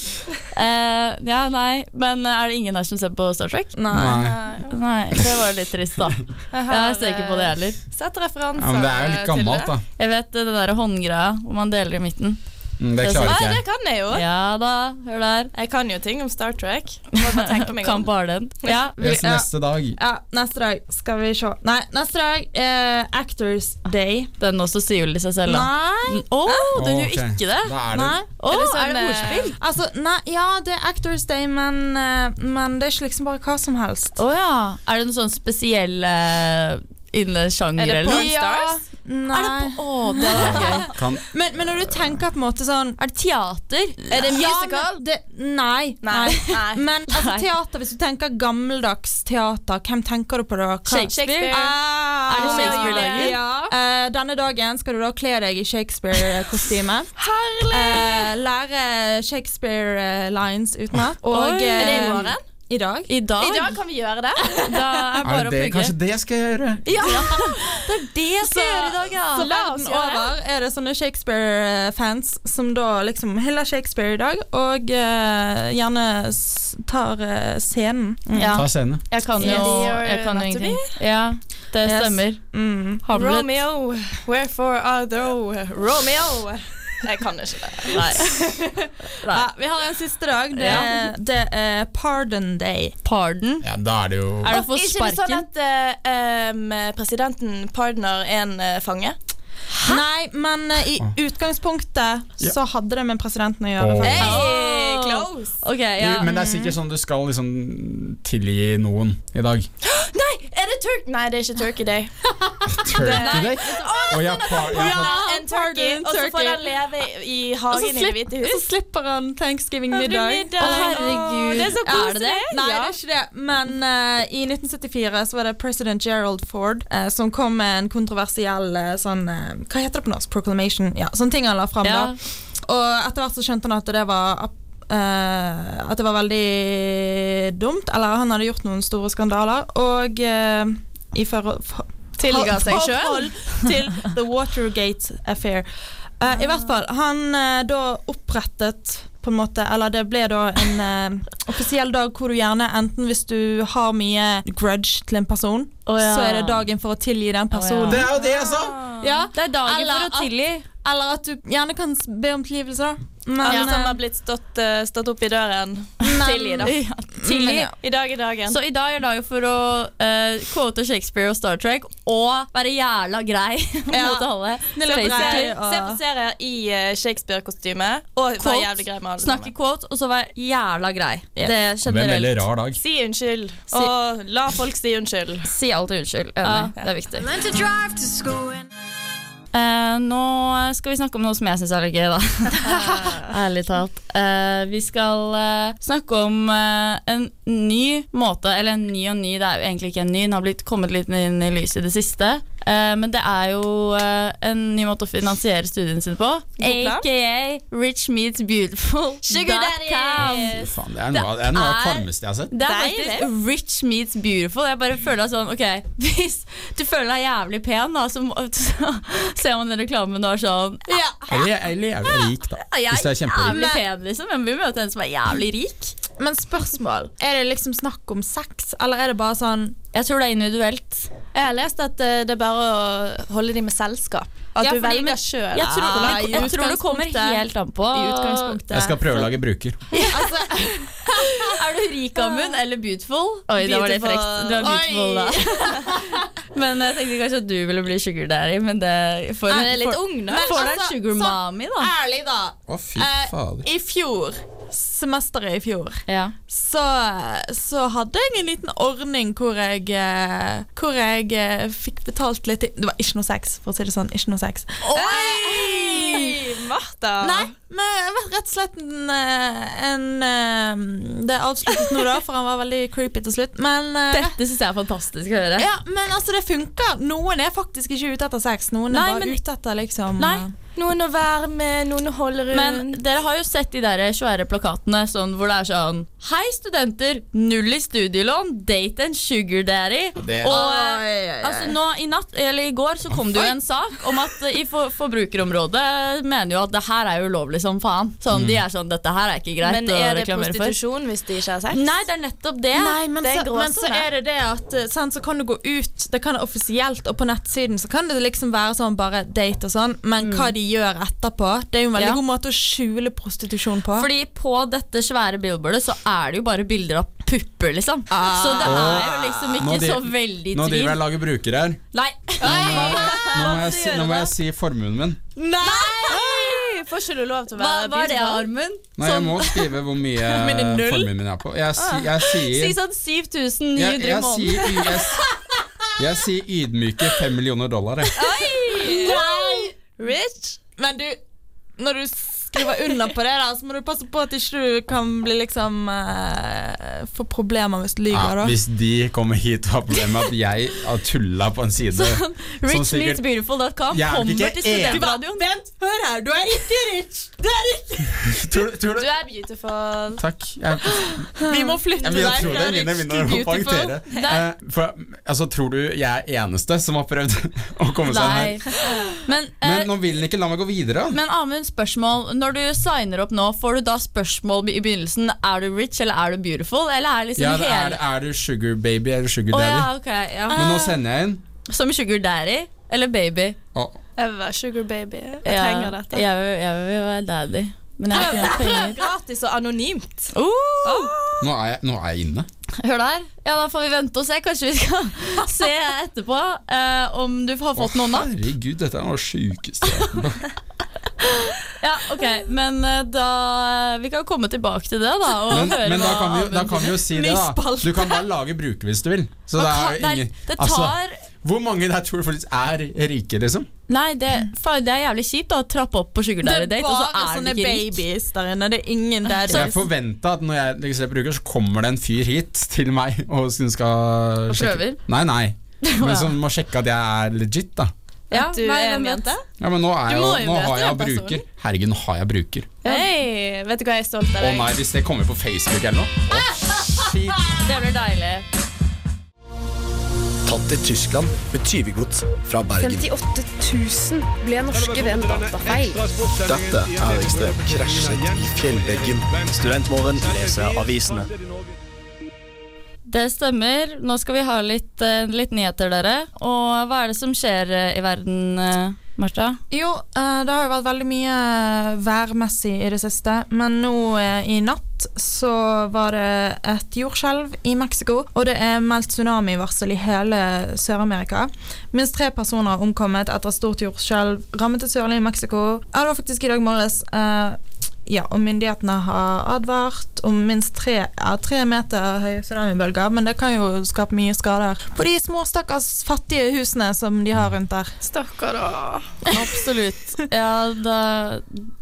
Speaker 5: Eh, ja, nei, men er det ingen her som ser på Star Trek?
Speaker 2: Nei.
Speaker 5: Nei, det var litt trist, da.
Speaker 6: Jeg har,
Speaker 5: Jeg ser ikke på det heller.
Speaker 6: eh, Sett referanser
Speaker 2: Ja, men det er jo litt
Speaker 5: eh,
Speaker 2: gammelt, da.
Speaker 5: Jeg vet eh, den der håndgreia hvor man deler i midten.
Speaker 2: Mm,
Speaker 5: Det
Speaker 2: det
Speaker 5: er
Speaker 2: klarer
Speaker 6: Ja,
Speaker 2: ikke
Speaker 6: det
Speaker 2: jeg.
Speaker 6: kan jeg jo.
Speaker 5: Ja da, hør der.
Speaker 6: Jeg kan jo ting om Star Trek. Må bare tenke meg
Speaker 5: Kan
Speaker 6: om.
Speaker 5: bare den. Ja,
Speaker 2: Yes,
Speaker 7: Ja.
Speaker 2: neste dag.
Speaker 7: Ja, neste dag skal vi se. Nei, neste dag eh, Actors Day.
Speaker 5: den også sier jo litt seg selv, da.
Speaker 7: Nei. Eh,
Speaker 5: Å,
Speaker 2: Å,
Speaker 5: den gjør
Speaker 2: ok.
Speaker 5: ikke det?
Speaker 2: Da er det
Speaker 7: Nei.
Speaker 5: Å,
Speaker 6: Er det sånn,
Speaker 5: Mm, er det
Speaker 6: eh,
Speaker 5: ordspill?
Speaker 7: Altså, nei, ja, det er Actors Day, men, eh, men det er ikke liksom bare hva som helst.
Speaker 5: Å ja. Er det en sånn spesiell uh, innen
Speaker 6: Er
Speaker 5: sjanger,
Speaker 6: det
Speaker 5: eller?
Speaker 6: porn stars?
Speaker 7: Nei.
Speaker 5: Er det på? Å, det er gøy.
Speaker 2: Kan,
Speaker 7: men, men når du tenker på en måte sånn
Speaker 5: Er det teater?
Speaker 6: Er det
Speaker 7: Ja,
Speaker 6: musical?
Speaker 7: men det, nei.
Speaker 6: Nei. Nei.
Speaker 7: Men altså,
Speaker 5: Nei.
Speaker 7: teater, hvis du tenker gammeldags teater, hvem tenker du på da? Hva-
Speaker 5: Shakespeare?
Speaker 7: Ah,
Speaker 5: Er det Shakespeare-dagen?
Speaker 7: Ja. Eh, denne dagen skal du da kle deg i Shakespeare-kostyme.
Speaker 6: Herlig!
Speaker 7: Eh, lære Shakespeare-lines utenat. Og
Speaker 5: Oi. Er det i
Speaker 7: eh,
Speaker 6: morgen?
Speaker 7: I dag.
Speaker 5: I dag?
Speaker 6: I dag kan vi gjøre det.
Speaker 5: Da er
Speaker 2: er
Speaker 5: bare
Speaker 2: det
Speaker 5: å
Speaker 2: det?
Speaker 5: plugge.
Speaker 2: Kanskje det skal jeg gjøre?
Speaker 5: Det skal jeg gjøre i dag, ja.
Speaker 7: Så
Speaker 6: la oss
Speaker 7: verden
Speaker 6: gjøre det.
Speaker 7: over er det sånne Shakespeare-fans som da liksom hyller Shakespeare i dag, og eh, gjerne s tar eh, scenen.
Speaker 5: Ja.
Speaker 2: Ta scenen.
Speaker 5: Jeg kan jo,
Speaker 6: Yes.
Speaker 5: jeg kan jo
Speaker 6: Anatomy?
Speaker 5: ingenting. Ja, det
Speaker 7: Yes.
Speaker 5: stemmer.
Speaker 7: Mm.
Speaker 5: Hamlet.
Speaker 6: Romeo, wherefore are thou Romeo? Jeg kan ikke det.
Speaker 5: Nei. Nei.
Speaker 7: Ja, vi har en siste dag. Det,
Speaker 5: Ja.
Speaker 7: det er Pardon Day.
Speaker 5: Pardon?
Speaker 2: Ja, da er det jo
Speaker 5: Er det å få
Speaker 6: ikke det
Speaker 5: sparken?
Speaker 6: sånn at eh, em, presidenten pardoner en eh, fange?
Speaker 7: Nei, men eh, i utgangspunktet
Speaker 2: Ja.
Speaker 7: så hadde det med presidenten å gjøre.
Speaker 2: Åh.
Speaker 7: faktisk.
Speaker 5: Hey,
Speaker 6: Ah. close!
Speaker 5: Ok, ja.
Speaker 2: Du, Men det er sikkert sånn du skal liksom tilgi noen i dag.
Speaker 6: Nei, er det turk... Nei, det er ikke turkey day.
Speaker 2: Turkey Day? Å, ja, par, ja,
Speaker 6: Ja,
Speaker 2: par-
Speaker 6: en turkey,
Speaker 7: pardon,
Speaker 6: og så får
Speaker 7: turkey.
Speaker 6: den leve i
Speaker 7: Og så
Speaker 6: hagen i Det
Speaker 7: slipp-
Speaker 6: hvite
Speaker 7: Så
Speaker 6: hus.
Speaker 7: slipper han
Speaker 6: Har du
Speaker 7: thanksgiving-middag.
Speaker 6: middag?
Speaker 5: Å, herregud.
Speaker 6: Å, Det er så
Speaker 5: Er det
Speaker 6: koselig.
Speaker 5: det?
Speaker 7: Nei, det er ikke det. Men eh, i 1974 så var det president Gerald Ford eh, som kom med en kontroversiell eh, sånn eh, Hva heter det på norsk? Proclamation? Ja, sånne ting han la fram. da.
Speaker 5: Ja.
Speaker 7: Og etter hvert så skjønte han at det var eh, At det var veldig dumt. Eller han hadde gjort noen store skandaler. Og eh, i for, for,
Speaker 6: Tilga seg
Speaker 7: forhold
Speaker 6: sjøl.
Speaker 7: til The Watergate Affair. Eh, I hvert fall. Han eh, da opprettet på en måte, eller det ble da en eh, offisiell dag hvor du gjerne, enten hvis du har mye grudge til en person,
Speaker 5: Å, ja.
Speaker 7: så er det dagen for å tilgi den personen.
Speaker 2: Det er jo det altså. jeg sa!
Speaker 7: ja.
Speaker 5: Det er dagen
Speaker 7: Eller
Speaker 5: for å
Speaker 7: at-
Speaker 5: tilgi.
Speaker 7: Eller at du gjerne kan s- be om tilgivelse, da. Men,
Speaker 6: Alle som
Speaker 7: eh,
Speaker 6: har blitt stått, eh, stått opp i døren.
Speaker 7: men-
Speaker 6: Tilgi, da.
Speaker 5: Ja, tilgi.
Speaker 7: Men ja.
Speaker 6: I dag er dagen.
Speaker 5: Så i dag er dagen for å eh, quote Shakespeare og Star Trek og være jævla grei mot alle.
Speaker 7: Snill og grei.
Speaker 5: Basically,
Speaker 7: og-
Speaker 6: Se på serier i eh, Shakespeare-kostyme og vær
Speaker 5: Quote.
Speaker 6: jævlig grei med alle
Speaker 5: Snakke
Speaker 6: sammen.
Speaker 5: quote, og så være jævla grei.
Speaker 7: Yes.
Speaker 5: Det er
Speaker 2: Det er en
Speaker 5: generelt.
Speaker 2: veldig rar dag.
Speaker 6: Si unnskyld, og la folk si unnskyld.
Speaker 5: Si alltid unnskyld. Enig. Det er viktig.
Speaker 8: Learn to drive to school and
Speaker 5: Eh, nå skal vi snakke om noe som jeg syns er litt gøy, da. Ærlig talt. Eh, vi skal eh, snakke om eh, en ny måte, eller en ny og ny, det er jo egentlig ikke en ny, den har blitt kommet litt inn i lyset i det siste. Eh, men det er jo eh, en ny måte å finansiere studiene sine på.
Speaker 6: plan.
Speaker 5: AKA rich meets beautiful.
Speaker 6: Sugar daddy!
Speaker 2: Fy Faen, det er noe av det, er noe av
Speaker 5: Det
Speaker 2: det
Speaker 5: er-
Speaker 2: kvalmeste jeg har sett.
Speaker 5: Det er
Speaker 6: Deilig.
Speaker 5: faktisk rich meets beautiful. Jeg bare føler sånn, ok, Hvis du føler deg jævlig pen, da, så, må- så ser man den reklamen og er sånn ja,
Speaker 2: Eller, eller jævlig rik, da.
Speaker 5: jeg
Speaker 2: Hvis du er kjemperik.
Speaker 5: jævlig pen, liksom. Men vi møter en som er jævlig rik.
Speaker 7: Men spørsmål. Er det liksom snakk om sex, eller er det bare sånn
Speaker 5: Jeg tror det er individuelt.
Speaker 6: Jeg har lest at eh, det er bare å holde dem med selskap. At
Speaker 5: Ja,
Speaker 6: du
Speaker 5: fordi- men-
Speaker 6: velger sjøl.
Speaker 5: Jeg tror,
Speaker 7: Nei,
Speaker 5: jeg,
Speaker 7: i
Speaker 5: jeg tror det kommer
Speaker 7: utgangspunktet-
Speaker 5: helt an på.
Speaker 7: i utgangspunktet?
Speaker 2: Jeg skal prøve å lage bruker.
Speaker 5: Er du rik, Amund, eller beautiful? Oi, da var det
Speaker 6: Beautiful.
Speaker 5: frekt. Du er beautiful, da. men jeg tenkte kanskje at du ville bli sugar daddy, men det får
Speaker 6: Men jeg er litt ung nå.
Speaker 7: Men
Speaker 5: Får deg en
Speaker 7: altså,
Speaker 5: sugar
Speaker 7: så-
Speaker 5: mommy, da.
Speaker 7: Ærlig, da.
Speaker 2: Å, fy
Speaker 7: Eh,
Speaker 2: fader.
Speaker 7: I fjor, semesteret i fjor,
Speaker 5: Ja.
Speaker 7: så, så hadde jeg en liten ordning hvor jeg, eh, hvor jeg eh, fikk betalt litt i- Det var ikke noe sex, for å si det sånn. Ikke noe sex.
Speaker 6: Oi, Martha!
Speaker 7: Nei, men jeg vet rett og slett en, eh, en eh, Det er avsluttet nå, da, for han var veldig creepy til slutt. Men, eh,
Speaker 5: Dette syns jeg er fantastisk å høre.
Speaker 7: ja, men altså, det funker. Noen er faktisk ikke ute etter sex. Noen
Speaker 5: Nei,
Speaker 7: er bare
Speaker 5: men-
Speaker 7: ute etter liksom
Speaker 5: Nei.
Speaker 7: eh,
Speaker 6: Noen å være med, noen å holde rundt.
Speaker 5: Men dere har jo sett de der svære plakatene sånn, hvor det er sånn Hei, studenter! Null i studielån! Date and sugar daddy!
Speaker 2: Det-
Speaker 5: Og eh, altså, nå i natt, eller i går, så kom det jo en sak om at eh, i for Forbrukerområdet mener jo at det her er jo ulovlig som faen. Sånn,
Speaker 2: Mm.
Speaker 5: De er sånn Dette her er ikke greit
Speaker 6: Men
Speaker 5: å
Speaker 6: er det
Speaker 5: reklamere for.
Speaker 6: prostitusjon hvis de ikke har sex?
Speaker 5: Nei, det er nettopp det. sånn,
Speaker 7: Nei, men,
Speaker 6: det er en
Speaker 7: så,
Speaker 6: gråsone.
Speaker 7: men så er det det at eh, sant, så kan du gå ut, det kan det offisielt, og på nettsiden så kan det liksom være sånn bare date og sånn, men hva de gjør etterpå, det er jo en veldig
Speaker 5: Mm. Ja.
Speaker 7: god måte å skjule prostitusjon på.
Speaker 5: Fordi på dette svære billboardet så er det jo bare bilder av pupper, liksom.
Speaker 7: Ah.
Speaker 5: Så det er jo liksom ikke
Speaker 2: Nå de-
Speaker 5: så veldig
Speaker 2: Nå driver jeg
Speaker 5: tvil.
Speaker 2: og lager bruker her.
Speaker 5: Nei.
Speaker 2: Nå må jeg si, nå må jeg si formuen min.
Speaker 6: Nei! Får ikke du lov til å
Speaker 5: Hva
Speaker 7: Eh,
Speaker 6: være
Speaker 5: var det,
Speaker 6: beautiful?
Speaker 5: Armen?
Speaker 2: Nei,
Speaker 7: Sånn,
Speaker 2: jeg må skrive hvor mye
Speaker 7: Men det er null.
Speaker 2: formuen min er på. Jeg, si, jeg sier
Speaker 5: Si sånn 7900
Speaker 2: jeg,
Speaker 5: i
Speaker 2: jeg,
Speaker 5: måneden.
Speaker 2: sier, y- jeg, s- jeg sier ydmyke fem millioner dollar. Jeg.
Speaker 6: Rich?
Speaker 7: Men du, når du skriver under på det, da, så må du passe på at ikke du kan bli liksom eh, få problemer hvis du lyver,
Speaker 2: Ja,
Speaker 7: da.
Speaker 2: hvis de kommer hit og har problemer med at jeg har tulla på en side som sånn sikkert
Speaker 5: Richmeetsbeautiful.com
Speaker 2: Jeg er nok
Speaker 5: kommer
Speaker 2: ikke
Speaker 5: til
Speaker 2: enig.
Speaker 5: studentradioen.
Speaker 7: Vent, hør her, du er ikke rich!
Speaker 2: Tror du- tror
Speaker 6: Du
Speaker 2: du-
Speaker 6: er beautiful.
Speaker 2: Takk. Jeg,
Speaker 7: Vi må flytte
Speaker 2: jeg
Speaker 7: deg
Speaker 2: begynner å tro det
Speaker 7: fra
Speaker 2: er mine
Speaker 7: rich
Speaker 2: minner
Speaker 7: to
Speaker 2: om
Speaker 7: beautiful.
Speaker 2: karakterer. Eh, for, altså, tror du jeg er eneste som har prøvd å komme seg
Speaker 5: Nei.
Speaker 2: her?
Speaker 5: Men, eh,
Speaker 2: Men nå vil den ikke la meg gå videre.
Speaker 5: men Amund, spørsmål. Når du signer opp nå, får du da spørsmål i begynnelsen Er du rich, eller er du beautiful? Eller er liksom
Speaker 2: Ja, det er,
Speaker 5: hele
Speaker 2: er du sugar baby eller sugar
Speaker 5: Å ja,
Speaker 2: daddy?
Speaker 5: ok, ja. Eh,
Speaker 2: Men nå sender jeg inn.
Speaker 5: Som sugar daddy eller baby?
Speaker 2: Å,
Speaker 6: Jeg vil være sugar baby. Jeg
Speaker 5: Ja,
Speaker 6: trenger dette.
Speaker 5: Jeg vil, jeg vil være daddy. Men jeg har ikke noen penger.
Speaker 6: Gratis og anonymt. Ah.
Speaker 5: Oh!
Speaker 2: nå, er jeg, nå er jeg inne.
Speaker 5: Hør der. Ja, da får vi vente og se. Kanskje vi skal se etterpå eh, om du har fått noen, da.
Speaker 2: herregud, dette er noe av det sjukeste.
Speaker 5: Ja, ok, men eh, da Vi kan komme tilbake til det, da. Og
Speaker 2: Men,
Speaker 5: høre
Speaker 2: men da,
Speaker 5: hva
Speaker 2: kan vi, jo- da
Speaker 5: Amund-
Speaker 2: kan vi jo si det, da. Du kan bare lage bruker hvis du vil. Så det er jo
Speaker 5: Nei,
Speaker 2: ingen
Speaker 5: det tar
Speaker 2: altså, Hvor mange der tror du faktisk er rike, liksom?
Speaker 5: Nei, det, faen, det er jævlig kjipt da, å trappe opp på Sugar
Speaker 7: Det
Speaker 5: Daddy
Speaker 7: er
Speaker 5: Date, og så
Speaker 7: bare
Speaker 5: er du
Speaker 7: sånne
Speaker 5: ikke rik.
Speaker 7: babies der inne. Det er ingen daddies.
Speaker 2: Jeg forventa at når jeg registrerer bruker, så kommer det en fyr hit til meg og som skal
Speaker 5: Og
Speaker 2: sjekke
Speaker 5: prøver?
Speaker 2: Nei, nei. Men
Speaker 5: ja.
Speaker 2: som må sjekke at jeg er legit, da.
Speaker 5: Ja,
Speaker 6: Du
Speaker 5: nei,
Speaker 6: er
Speaker 5: hvem
Speaker 6: en
Speaker 5: vet?
Speaker 6: jente.
Speaker 2: Ja, men nå, er
Speaker 6: Du
Speaker 2: jeg,
Speaker 6: må jo
Speaker 2: nå
Speaker 6: møte
Speaker 2: har jeg
Speaker 6: den personen.
Speaker 2: bruker. Herregud, nå har jeg bruker.
Speaker 6: Hei, vet du hva jeg er stolt av
Speaker 2: Å
Speaker 6: deg?
Speaker 2: nei, hvis det kommer på Facebook eller noe.
Speaker 5: Det blir deilig.
Speaker 8: Tatt til Tyskland med tyvegods fra Bergen.
Speaker 9: 58 000 ble norske ved en datafeil.
Speaker 8: Dette er ekstremt krasjet i fjellveggen. Studentmorgen leser avisene.
Speaker 5: Det stemmer. Nå skal vi ha litt, eh, litt nyheter, dere. Og hva er det som skjer eh, i verden, eh, Martha?
Speaker 7: Jo, eh, det har jo vært veldig mye eh, værmessig i det siste, men nå eh, i natt så var det et jordskjelv i Mexico, og det er meldt tsunamivarsel i hele Sør-Amerika. Minst tre personer har omkommet etter et stort jordskjelv rammet det sørlige Mexico. Ja, det var faktisk i dag morges. eh, ja, og myndighetene har advart om minst tre, ja, tre meter høye tsunamibølger, men det kan jo skape mye skader på de små stakkars fattige husene som de har rundt der.
Speaker 6: Stakkar, da.
Speaker 5: Absolutt. Ja, da,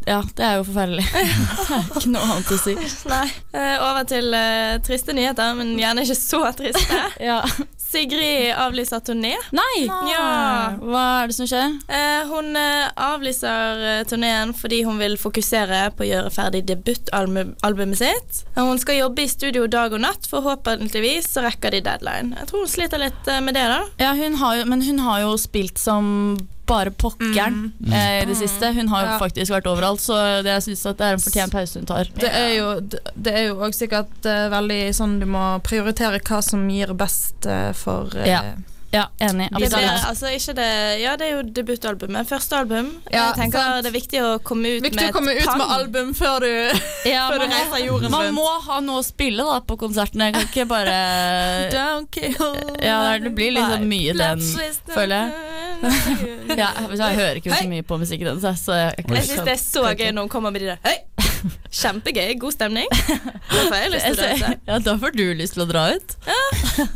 Speaker 5: ja, det er jo forferdelig. Det er ikke noe annet å si.
Speaker 6: Nei. Eh, Over til eh, triste nyheter, men gjerne ikke så triste.
Speaker 5: Ja.
Speaker 6: Sigrid avlyser turné.
Speaker 5: Nei!
Speaker 6: Ja.
Speaker 5: Hva er det som skjer?
Speaker 6: Eh, hun eh, avlyser eh, turneen fordi hun vil fokusere på å gjøre ferdig debutalbumet sitt. Og Hun skal jobbe i studio dag og natt, forhåpentligvis så rekker de deadline. Jeg tror hun sliter litt eh, med det, da.
Speaker 5: Ja, hun har jo, men hun har jo spilt som bare pokkeren eh, i det siste. Hun har jo
Speaker 7: Mm. Ja.
Speaker 5: faktisk vært overalt, så det, jeg syns at det er en fortjent pause hun tar.
Speaker 7: Det er jo det- det er jo også sikkert eh, veldig sånn du må prioritere hva som gir best eh, for eh,
Speaker 5: Ja. Ja, enig.
Speaker 6: Det, blir,
Speaker 5: Absolutt.
Speaker 6: altså, ikke det, ja, det er jo debutalbumet. Første album.
Speaker 7: Ja,
Speaker 6: jeg tenker
Speaker 7: sant.
Speaker 6: Det er viktig å komme ut
Speaker 7: Viktig
Speaker 6: med
Speaker 7: å komme ut
Speaker 6: pang.
Speaker 7: med album før du
Speaker 5: Ja,
Speaker 7: Før du
Speaker 5: man,
Speaker 7: reiser jorden
Speaker 5: må, man
Speaker 7: rundt.
Speaker 5: må ha noe å spille da på konsertene. Jeg kan ikke bare
Speaker 7: Don't kill
Speaker 5: Ja, det blir litt sånn mye den, føler
Speaker 6: jeg.
Speaker 5: ja, Jeg hører ikke så mye på musikk i den, så jeg- så jeg
Speaker 6: Sånn, Jeg syns det er så gøy når hun kommer med de der Hei! Kjempegøy, god stemning. Da får jeg lyst til å danse.
Speaker 5: Ja, da får du lyst til å dra ut.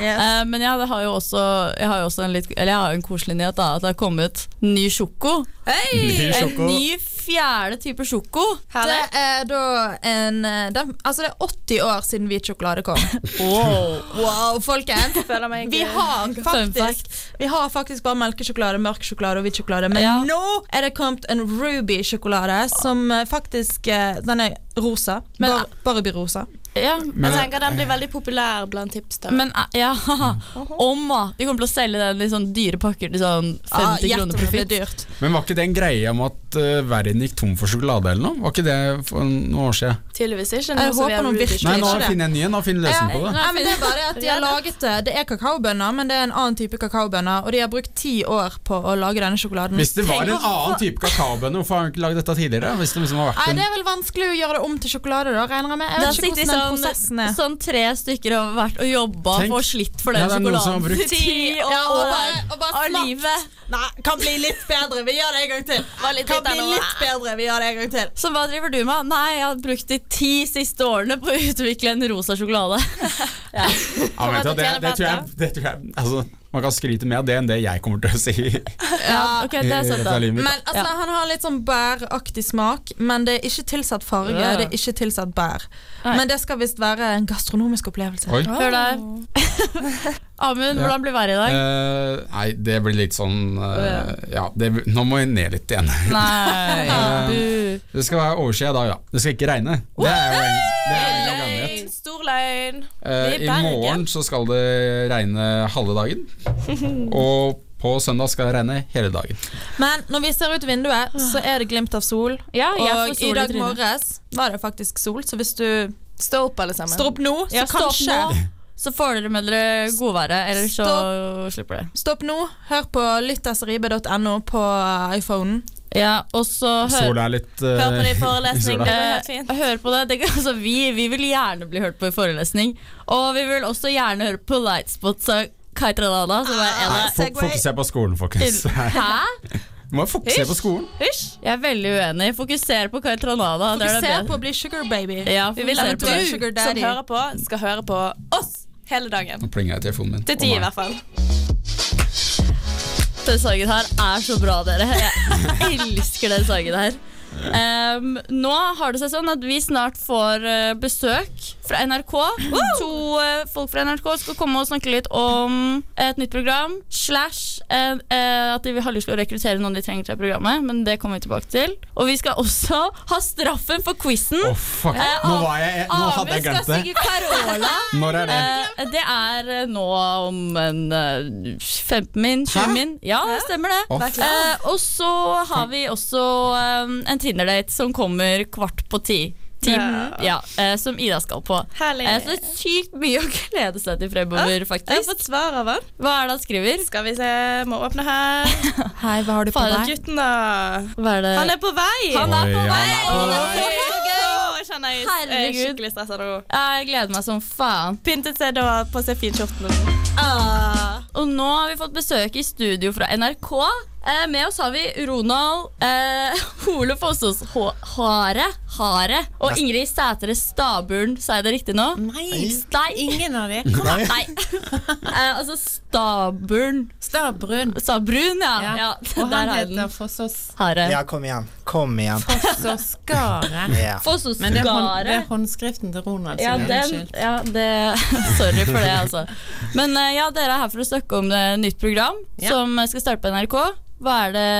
Speaker 5: Eh, men ja, det har jo også, jeg har jo også en, litt, eller jeg har jo en koselig nyhet, da. At det har kommet ny sjoko.
Speaker 2: Ny
Speaker 5: En
Speaker 2: sjoko.
Speaker 5: ny fjerde type sjoko.
Speaker 7: Det
Speaker 6: Herlig.
Speaker 7: er da en eh, den, Altså, det er 80 år siden hvit sjokolade kom. Wow, folkens!
Speaker 6: Føler meg
Speaker 7: Vi har,
Speaker 5: Fun
Speaker 7: faktisk, vi har faktisk bare melkesjokolade, mørk sjokolade og hvit sjokolade, men
Speaker 5: Ja.
Speaker 7: nå er det kommet en ruby-sjokolade som eh, faktisk eh, Den er rosa.
Speaker 5: Men-
Speaker 7: Bar, Barbie-rosa.
Speaker 5: Ja,
Speaker 6: Jeg
Speaker 2: Men
Speaker 6: tenker den blir veldig populær blant tipster.
Speaker 5: men eh, ja, haha.
Speaker 7: Mhm.
Speaker 5: om da. De kommer til å selge den i sånne dyre pakker til sånn 50
Speaker 7: Ja,
Speaker 5: kroner
Speaker 7: gjett om det blir
Speaker 5: profitt.
Speaker 7: Ah, dyrt.
Speaker 2: Men var ikke det en greie om at eh, verden gikk tom for sjokolade eller noe? Var ikke det for noen år siden?
Speaker 6: Tydeligvis ikke.
Speaker 7: Jeg
Speaker 6: som
Speaker 7: håper
Speaker 6: vi har
Speaker 7: noen
Speaker 6: Ruby
Speaker 7: virkelig-
Speaker 2: Nei,
Speaker 6: Tuesday.
Speaker 2: nå
Speaker 7: ikke det.
Speaker 2: finner jeg en ny en. Nå finner jeg løsning på det.
Speaker 7: Nei, men det er bare det at de har laget det. Det er kakaobønner, men det er en annen type kakaobønner, og de har brukt ti år på å lage denne sjokoladen.
Speaker 2: Hvis det var en annen type kakaobønne, hvorfor har han ikke lagd dette tidligere? Hvis det liksom har vært
Speaker 7: Nei,
Speaker 2: en
Speaker 7: det er vel vanskelig å gjøre det om til sjokolade, da, regner jeg med. Jeg
Speaker 5: Der
Speaker 7: vet ikke
Speaker 5: sitter
Speaker 7: hvordan den prosessen
Speaker 5: sånn,
Speaker 7: er.
Speaker 5: sånn tre stykker og har vært og jobba
Speaker 2: Tenk-
Speaker 5: og slitt for
Speaker 2: Ja,
Speaker 5: den
Speaker 2: det er noen som har
Speaker 5: sjokoladen.
Speaker 2: brukt-
Speaker 5: Ti år
Speaker 7: Ja, og bare- og bare
Speaker 5: av
Speaker 7: smakt.
Speaker 5: livet.
Speaker 7: Nei, kan bli litt bedre. Vi gjør det en gang til.
Speaker 6: Kan bli litt
Speaker 7: bedre. Vi gjør det en gang til.
Speaker 5: Så hva driver du med? Nei, jeg har brukt de ti siste årene på å utvikle en rosa sjokolade.
Speaker 2: ja, vet du, hva, det,
Speaker 6: tjener
Speaker 2: det tror
Speaker 6: på
Speaker 2: jeg, det tror jeg altså, Man kan skryte mer av det enn det jeg kommer til å si. i
Speaker 7: Ah.
Speaker 5: Ja, ok, det er sant
Speaker 2: resten av
Speaker 5: da.
Speaker 2: livet mitt.
Speaker 7: Men altså,
Speaker 5: Ja.
Speaker 7: Han har litt sånn bæraktig smak, men det er ikke tilsatt farge.
Speaker 5: Ja.
Speaker 7: Det er ikke tilsatt bær.
Speaker 5: Nei.
Speaker 7: Men det skal visst være en gastronomisk opplevelse.
Speaker 2: Oi.
Speaker 5: Hør der. Amund, hvordan blir været i dag?
Speaker 2: Eh, nei, det blir litt sånn eh, Ja, det, nå må jeg ned litt igjen. Eh,
Speaker 5: Nei, bu.
Speaker 2: Det skal være overskyet i dag, ja. Det skal ikke regne. Det er jo en, det er jo en
Speaker 6: Løgn.
Speaker 2: gladnyhet.
Speaker 6: Stor løgn.
Speaker 2: Eh,
Speaker 6: Det er
Speaker 2: I
Speaker 6: Bergen.
Speaker 2: morgen så skal det regne halve dagen. Og på søndag skal det regne hele dagen.
Speaker 7: Men når vi ser ut vinduet, så er det glimt av sol.
Speaker 5: Ja, jeg får
Speaker 7: Og
Speaker 5: sol
Speaker 7: i
Speaker 5: i
Speaker 7: dag
Speaker 5: trynet.
Speaker 7: morges var det faktisk sol, så hvis du
Speaker 6: Stå opp, alle sammen.
Speaker 7: står opp nå, så
Speaker 5: Ja, stå opp
Speaker 7: kanskje
Speaker 5: nå, så får dere med dere godværet, eller så slipper dere.
Speaker 7: Stopp nå. Hør på lyttsrib.no på iPhonen.
Speaker 5: Ja, og så hør,
Speaker 2: Sola er litt eh,
Speaker 6: Hør på de
Speaker 2: sola.
Speaker 6: forelesningene. Det var
Speaker 5: eh,
Speaker 6: helt fint.
Speaker 5: hør på det. det kan- altså, vi, vi vil gjerne bli hørt på i forelesning, og vi vil også gjerne høre på Lightspots av Kai Tradada, som er en
Speaker 2: Nei,
Speaker 5: av
Speaker 2: fok- Fokuser på skolen, folkens.
Speaker 6: Ah.
Speaker 5: Hæ?
Speaker 2: Må jo fokusere på skolen.
Speaker 5: Jeg er veldig uenig. Fokuser på Kai Tradada. det
Speaker 7: Vi
Speaker 5: er det
Speaker 7: ser
Speaker 5: bedre.
Speaker 7: på å bli sugar baby.
Speaker 5: Ja,
Speaker 6: Vi vil
Speaker 5: fokuser
Speaker 6: at
Speaker 5: på
Speaker 6: du
Speaker 5: det.
Speaker 7: Sugar
Speaker 6: som
Speaker 7: daddy.
Speaker 6: hører på, skal høre på oss hele dagen.
Speaker 2: Nå plinger jeg i telefonen min.
Speaker 6: Til
Speaker 2: Å,
Speaker 6: ti,
Speaker 2: nei.
Speaker 6: i hvert fall.
Speaker 5: Den sangen her er så bra, dere. Jeg elsker den sangen her. Em, nå har det seg sånn at vi snart får eh, besøk fra NRK. To eh, folk fra NRK skal komme og snakke litt om et nytt program. Slash eh, eh, at de har lyst til å rekruttere noen de trenger til programmet. Men det kommer vi tilbake til. Og vi skal også ha straffen for quizen.
Speaker 2: Å, fuck.
Speaker 5: Eh,
Speaker 2: Nå, var jeg, nå hadde jeg glemt det.
Speaker 5: Carola.
Speaker 2: Når er det?
Speaker 5: Eh, det er eh, nå om en eh, 15 min, 20 min. Ja, det stemmer det.
Speaker 2: Å,
Speaker 5: Eh, og så har vi også eh, en Tinder-date som kommer kvart på ti. Ti-
Speaker 6: Ja.
Speaker 5: ja, eh, som Ida skal på.
Speaker 6: Herlig.
Speaker 5: Eh, så det er sykt mye å glede seg til fremover,
Speaker 6: Jeg har
Speaker 5: faktisk.
Speaker 6: fått svar av han.
Speaker 5: Hva er det han skriver?
Speaker 6: Skal vi se, må åpne her.
Speaker 7: Hei, hva har du på
Speaker 5: Fader,
Speaker 7: deg?
Speaker 6: Gutten, da.
Speaker 5: Hva er det?
Speaker 6: Eh. Han er på vei!
Speaker 5: Han er på
Speaker 2: Oi,
Speaker 5: vei!
Speaker 2: han er
Speaker 6: Oi, åh, jeg kjenner jeg er
Speaker 5: Herregud.
Speaker 6: skikkelig stressa nå.
Speaker 5: Eh, Jeg gleder meg som faen.
Speaker 6: Pyntet seg da på seg finskjorten.
Speaker 5: Og nå har vi fått besøk i studio fra NRK. Eh, med oss har vi Ronald eh, Hole Fossås Hå- Hare, Hare og Ingrid Sætre Stabulen. Sa jeg det riktig nå? Nei. Ingen av dem. Nei. Eh, altså Stabern
Speaker 7: Stabrun.
Speaker 5: Stabrun, ja. ja.
Speaker 10: Og
Speaker 5: der
Speaker 10: han
Speaker 5: har
Speaker 10: heter
Speaker 5: den.
Speaker 10: Fossås-
Speaker 5: Har det.
Speaker 11: Ja, kom igjen. Kom igjen.
Speaker 10: Fossåsgare.
Speaker 11: Ja.
Speaker 5: Foss og
Speaker 10: Men det er, hånd, det
Speaker 5: skare.
Speaker 10: er håndskriften til Ronald.
Speaker 5: Ja,
Speaker 10: som er
Speaker 5: den,
Speaker 10: unnskyld.
Speaker 5: ja, det Sorry for det, altså. Men eh, ja, dere er her for å snakke om eh, nytt program
Speaker 10: Ja.
Speaker 5: som eh, skal starte på NRK. Hva er det,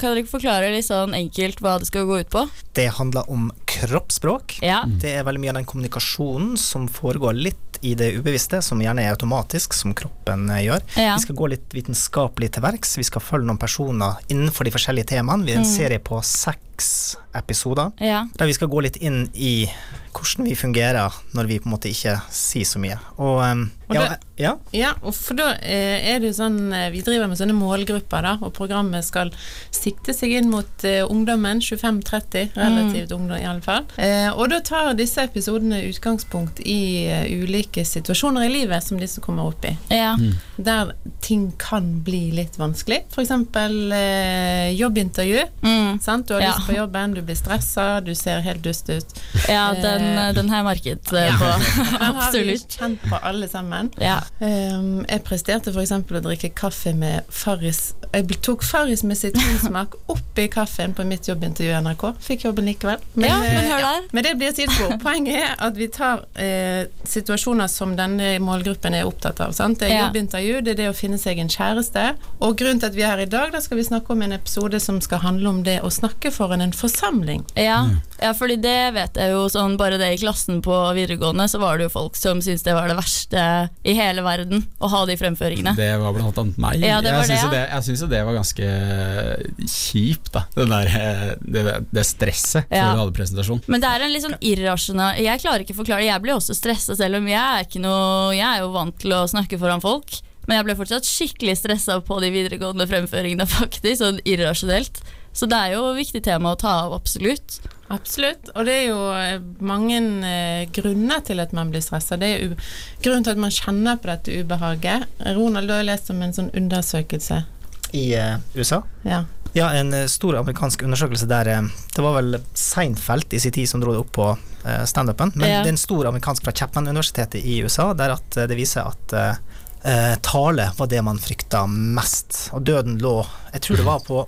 Speaker 5: kan dere forklare litt sånn enkelt hva det skal gå ut på?
Speaker 11: Det handler om kroppsspråk.
Speaker 5: Ja,
Speaker 11: Det er veldig mye av den kommunikasjonen som foregår litt i det ubevisste, som gjerne er automatisk, som kroppen eh, gjør.
Speaker 5: ja.
Speaker 11: Vi skal gå litt vitenskapelig til verks. Vi skal følge noen personer innenfor de forskjellige temaene. Vi er en serie på seks episoder
Speaker 5: ja.
Speaker 11: der vi skal gå litt inn i hvordan vi fungerer når vi på en måte ikke sier så mye. Og, em,
Speaker 10: Og
Speaker 11: ja,
Speaker 10: det-
Speaker 11: ja,
Speaker 10: Ja, og for da eh, er det jo sånn eh, Vi driver med sånne målgrupper, da, og programmet skal sikte seg inn mot eh, ungdommen. 25-30, relativt ungdom iallfall. Eh, og da tar disse episodene utgangspunkt i eh, ulike situasjoner i livet som disse kommer opp i.
Speaker 5: ja.
Speaker 10: Der ting kan bli litt vanskelig. F.eks. Eh, jobbintervju.
Speaker 5: Mm.
Speaker 10: Sant? Du har
Speaker 5: Ja.
Speaker 10: lyst på jobben, du blir stressa, du ser helt dust ut.
Speaker 5: ja den, eh, den har jeg merket eh, på.
Speaker 10: Den har vi
Speaker 5: Absolutt.
Speaker 10: kjent på alle sammen.
Speaker 5: Ja.
Speaker 10: Ehm, jeg presterte f.eks. å drikke kaffe med Farris. Jeg bl- tok Farris med sitronsmak oppi kaffen på mitt jobbintervju i NRK. Fikk jobben likevel. Men,
Speaker 5: ja,
Speaker 10: eh,
Speaker 5: men hør der.
Speaker 10: men det blir et sidespor. Poenget er at vi tar eh, situasjoner som denne målgruppen er opptatt av. Sant? Det er
Speaker 5: Ja.
Speaker 10: jobbintervju, det er det å finne seg en kjæreste. Og grunnen til at vi er her i dag, da skal vi snakke om en episode som skal handle om det å snakke foran en forsamling.
Speaker 5: Ja. ja, fordi det vet jeg jo sånn Bare det i klassen på videregående, så var det jo folk som syntes det var det verste i hele verden å ha de fremføringene.
Speaker 2: Det var blant annet meg.
Speaker 5: Ja, det var
Speaker 2: jeg
Speaker 5: det,
Speaker 2: syns jo
Speaker 5: ja.
Speaker 2: det, jeg synes jo det var ganske eh, kjipt, da. Den der, eh, det, det stresset
Speaker 5: Ja.
Speaker 2: før du hadde presentasjon.
Speaker 5: Men det er en litt sånn irrasjonal Jeg klarer ikke å forklare det. Jeg blir også stressa, selv om jeg er, ikke noe, jeg er jo vant til å snakke foran folk. Men jeg ble fortsatt skikkelig stressa på de videregående fremføringene, faktisk. Sånn irrasjonelt. Så det er jo et viktig tema å ta av, absolutt.
Speaker 10: Absolutt, og det er jo eh, mange eh, grunner til at man blir stressa. Det er jo grunnen til at man kjenner på dette ubehaget. Ronald, du har lest om en sånn undersøkelse.
Speaker 11: i eh, USA.
Speaker 10: Ja.
Speaker 11: Ja, en eh, stor amerikansk undersøkelse der eh, Det var vel Seinfeld i sin tid som dro det opp på eh, standupen. Men
Speaker 5: Ja.
Speaker 11: det er en stor amerikansk fra Chapman-universitetet i USA der at eh, det viser at eh, eh, tale var det man frykta mest. Og døden lå Jeg tror det var på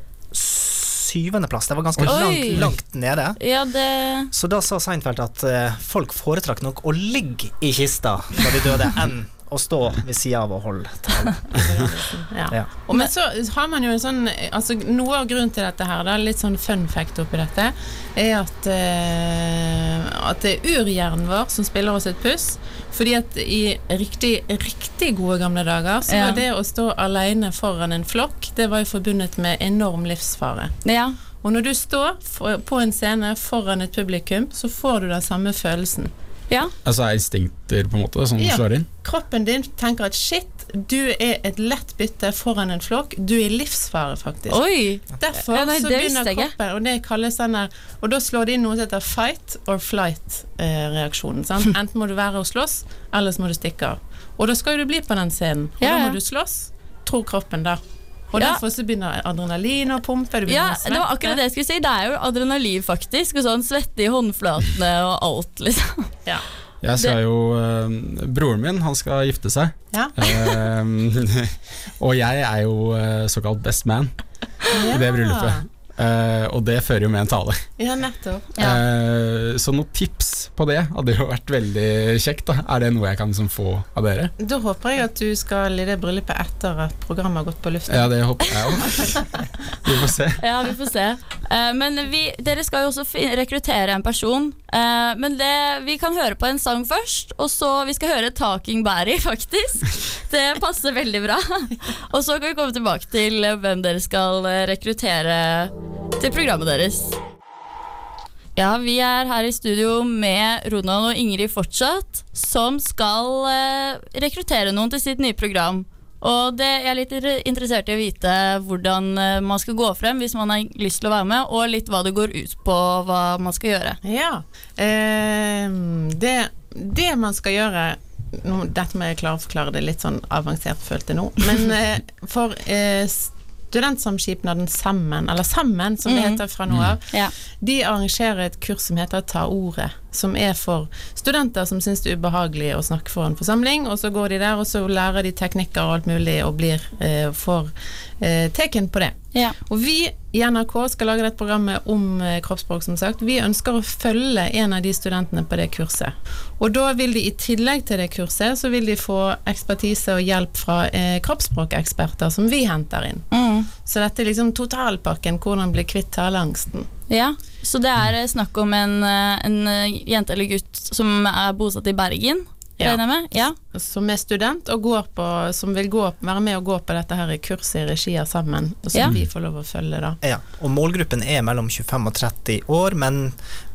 Speaker 11: syvendeplass. Det var ganske
Speaker 5: Oi.
Speaker 11: langt, langt nede.
Speaker 5: Ja, det
Speaker 11: Så da sa Seinfeld at eh, folk foretrakk nok å ligge i kista da de døde, enn å stå ved sida av og holde tale.
Speaker 10: Ja.
Speaker 11: Ja.
Speaker 10: Og men så har man jo en sånn altså Noe av grunnen til dette her, da, litt sånn fun fact oppi dette, er at, eh, at det er urhjernen vår som spiller oss et puss. Fordi at i riktig, riktig gode gamle dager så
Speaker 5: Ja.
Speaker 10: var det å stå alene foran en flokk, det var jo forbundet med enorm livsfare.
Speaker 5: Ja.
Speaker 10: Og når du står for, på en scene foran et publikum, så får du den samme følelsen.
Speaker 2: Altså er instinkter på en måte som
Speaker 10: Ja.
Speaker 2: slår inn.
Speaker 10: Kroppen din tenker at shit, du er et lett bytte foran en flokk. Du er i livsfare, faktisk.
Speaker 5: Oi!
Speaker 10: Derfor
Speaker 5: Ja, nei,
Speaker 10: så
Speaker 5: det
Speaker 10: begynner
Speaker 5: visste jeg ikke.
Speaker 10: kroppen, og det kalles den der Og da slår de inn noe som heter fight or flight-reaksjonen. sant? Enten må du være og slåss, eller så må du stikke av. Og da skal jo du bli på den scenen. Og
Speaker 5: Ja,
Speaker 10: da
Speaker 5: ja.
Speaker 10: må du slåss, tror kroppen da. Og
Speaker 5: Ja.
Speaker 10: derfor så begynner adrenalin å pumpe. Du
Speaker 5: Ja,
Speaker 10: begynner å
Speaker 5: det var akkurat det jeg skulle si. Det er jo adrenalin, faktisk. Og sånn svette i håndflatene og alt, liksom.
Speaker 2: Jeg skal jo eh, Broren min, han skal gifte seg.
Speaker 10: Ja.
Speaker 2: Eh, og jeg er jo eh, såkalt best man i det bryllupet. Eh, og det fører jo med en tale.
Speaker 10: Ja, nettopp.
Speaker 2: Eh, så noen tips på det hadde jo vært veldig kjekt. da Er det noe jeg kan liksom få av dere?
Speaker 10: Da håper jeg at du skal i det bryllupet etter at programmet har gått på luften.
Speaker 2: Ja, det håper jeg jo. Vi får se.
Speaker 5: Ja, vi får se. Eh, men vi, dere skal jo også fi- rekruttere en person. Eh, men det, vi kan høre på en sang først, og så vi skal høre 'Talking Barry', faktisk. Det passer veldig bra. Og så kan vi komme tilbake til eh, hvem dere skal eh, rekruttere til programmet deres. Ja, vi er her i studio med Ronald og Ingrid fortsatt, som skal eh, rekruttere noen til sitt nye program. Og det, jeg er litt inter- interessert i å vite hvordan eh, man skal gå frem hvis man har lyst til å være med, og litt hva det går ut på, hva man skal gjøre.
Speaker 10: Ja. Ehm, det, det man skal gjøre nå, Dette må jeg klare å forklare det litt sånn avansert, følte jeg nå. Men eh, for eh, s- Studentsamskipnaden Sammen, eller Sammen som det
Speaker 5: Mm.
Speaker 10: heter fra nå
Speaker 5: Mm.
Speaker 10: av, de arrangerer et kurs som heter Ta ordet, som er for studenter som syns det er ubehagelig å snakke for en forsamling, og så går de der, og så lærer de teknikker og alt mulig, og blir eh, får eh, teken på det. Og vi i NRK skal lage dette programmet om eh, kroppsspråk, som sagt. Vi ønsker å følge en av de studentene på det kurset. Og da vil de i tillegg til det kurset, så vil de få ekspertise og hjelp fra eh, kroppsspråkeksperter som vi henter inn.
Speaker 5: Mm.
Speaker 10: Så dette er liksom totalpakken, hvordan bli kvitt taleangsten.
Speaker 5: Ja, så det er eh, snakk om en, eh, en eh, jente eller gutt som er bosatt i Bergen,
Speaker 10: Ja.
Speaker 5: regner jeg med? Ja.
Speaker 10: Som er student og går på, som vil gå, være med og gå på dette her kurset i regi av Sammen, og som
Speaker 11: Ja.
Speaker 10: vi får lov å følge, da.
Speaker 11: Ja, og målgruppen er mellom 25 og 30 år, men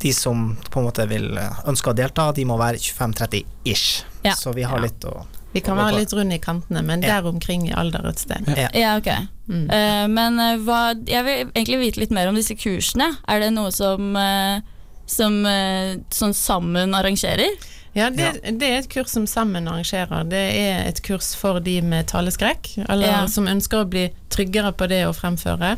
Speaker 11: de som på en måte vil eh, ønske å delta, de må være 25-30-ish.
Speaker 10: Ja.
Speaker 11: Så vi har
Speaker 10: Ja.
Speaker 11: litt å
Speaker 10: Vi kan
Speaker 11: å gå
Speaker 10: være
Speaker 11: på.
Speaker 10: litt runde i kantene, men
Speaker 11: Ja.
Speaker 10: der omkring i alder et sted.
Speaker 11: Ja.
Speaker 5: Ja, ok. Eh, men eh, hva, jeg vil egentlig vite litt mer om disse kursene. Er det noe som, eh, som eh, sånn sammen arrangerer?
Speaker 10: Ja, det, det er et kurs som Sammen arrangerer. Det er et kurs for de med taleskrekk, eller
Speaker 5: Ja.
Speaker 10: som ønsker å bli tryggere på det å fremføre.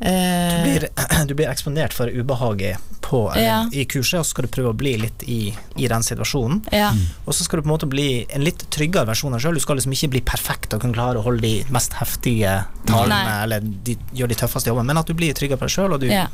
Speaker 11: Du
Speaker 10: Eh,
Speaker 11: blir, du blir eksponert for ubehaget på, eller,
Speaker 10: Ja.
Speaker 11: i kurset, og så skal du prøve å bli litt i, i den situasjonen.
Speaker 5: Ja.
Speaker 11: Og så skal du på en måte bli en litt tryggere versjon av deg sjøl. Du skal liksom ikke bli perfekt og kunne klare å holde de mest heftige talene,
Speaker 5: Nei.
Speaker 11: eller de, gjøre de tøffeste jobbene, men at du blir tryggere på deg sjøl, og du,
Speaker 5: Ja.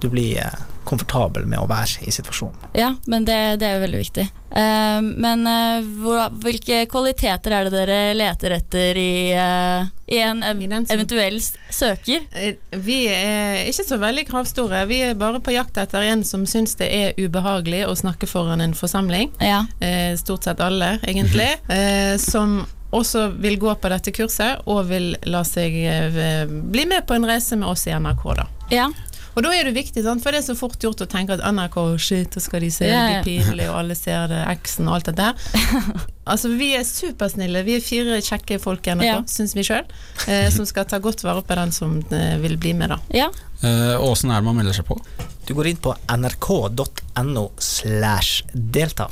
Speaker 11: du blir eh, komfortabel med å være i situasjonen.
Speaker 5: Ja, men det, det er jo veldig viktig. Eh, men eh, hvor, hvilke kvaliteter er det dere leter etter i, eh, i en ev eventuell s- søker?
Speaker 10: eh, Vi er ikke så veldig kravstore. Vi er bare på jakt etter en som syns det er ubehagelig å snakke foran en forsamling. Eh, Stort sett alle, egentlig. Eh, Som også vil gå på dette kurset og vil la seg eh, bli med på en reise med oss i NRK, da. Og da er det viktig, sant? for det er så fort gjort å tenke at NRK, shit, da skal de se
Speaker 5: Ja,
Speaker 10: det
Speaker 5: ja.
Speaker 10: blir pinlig, og alle ser det, eksen og alt det der. Altså, vi er supersnille. Vi er fire kjekke folk i NRK,
Speaker 5: Ja.
Speaker 10: syns vi sjøl, eh, som skal ta godt vare på den som eh, vil bli med, da.
Speaker 5: Ja.
Speaker 2: Eh, Og åssen er det man melder seg på?
Speaker 11: Du går inn på nrk.no slash delta.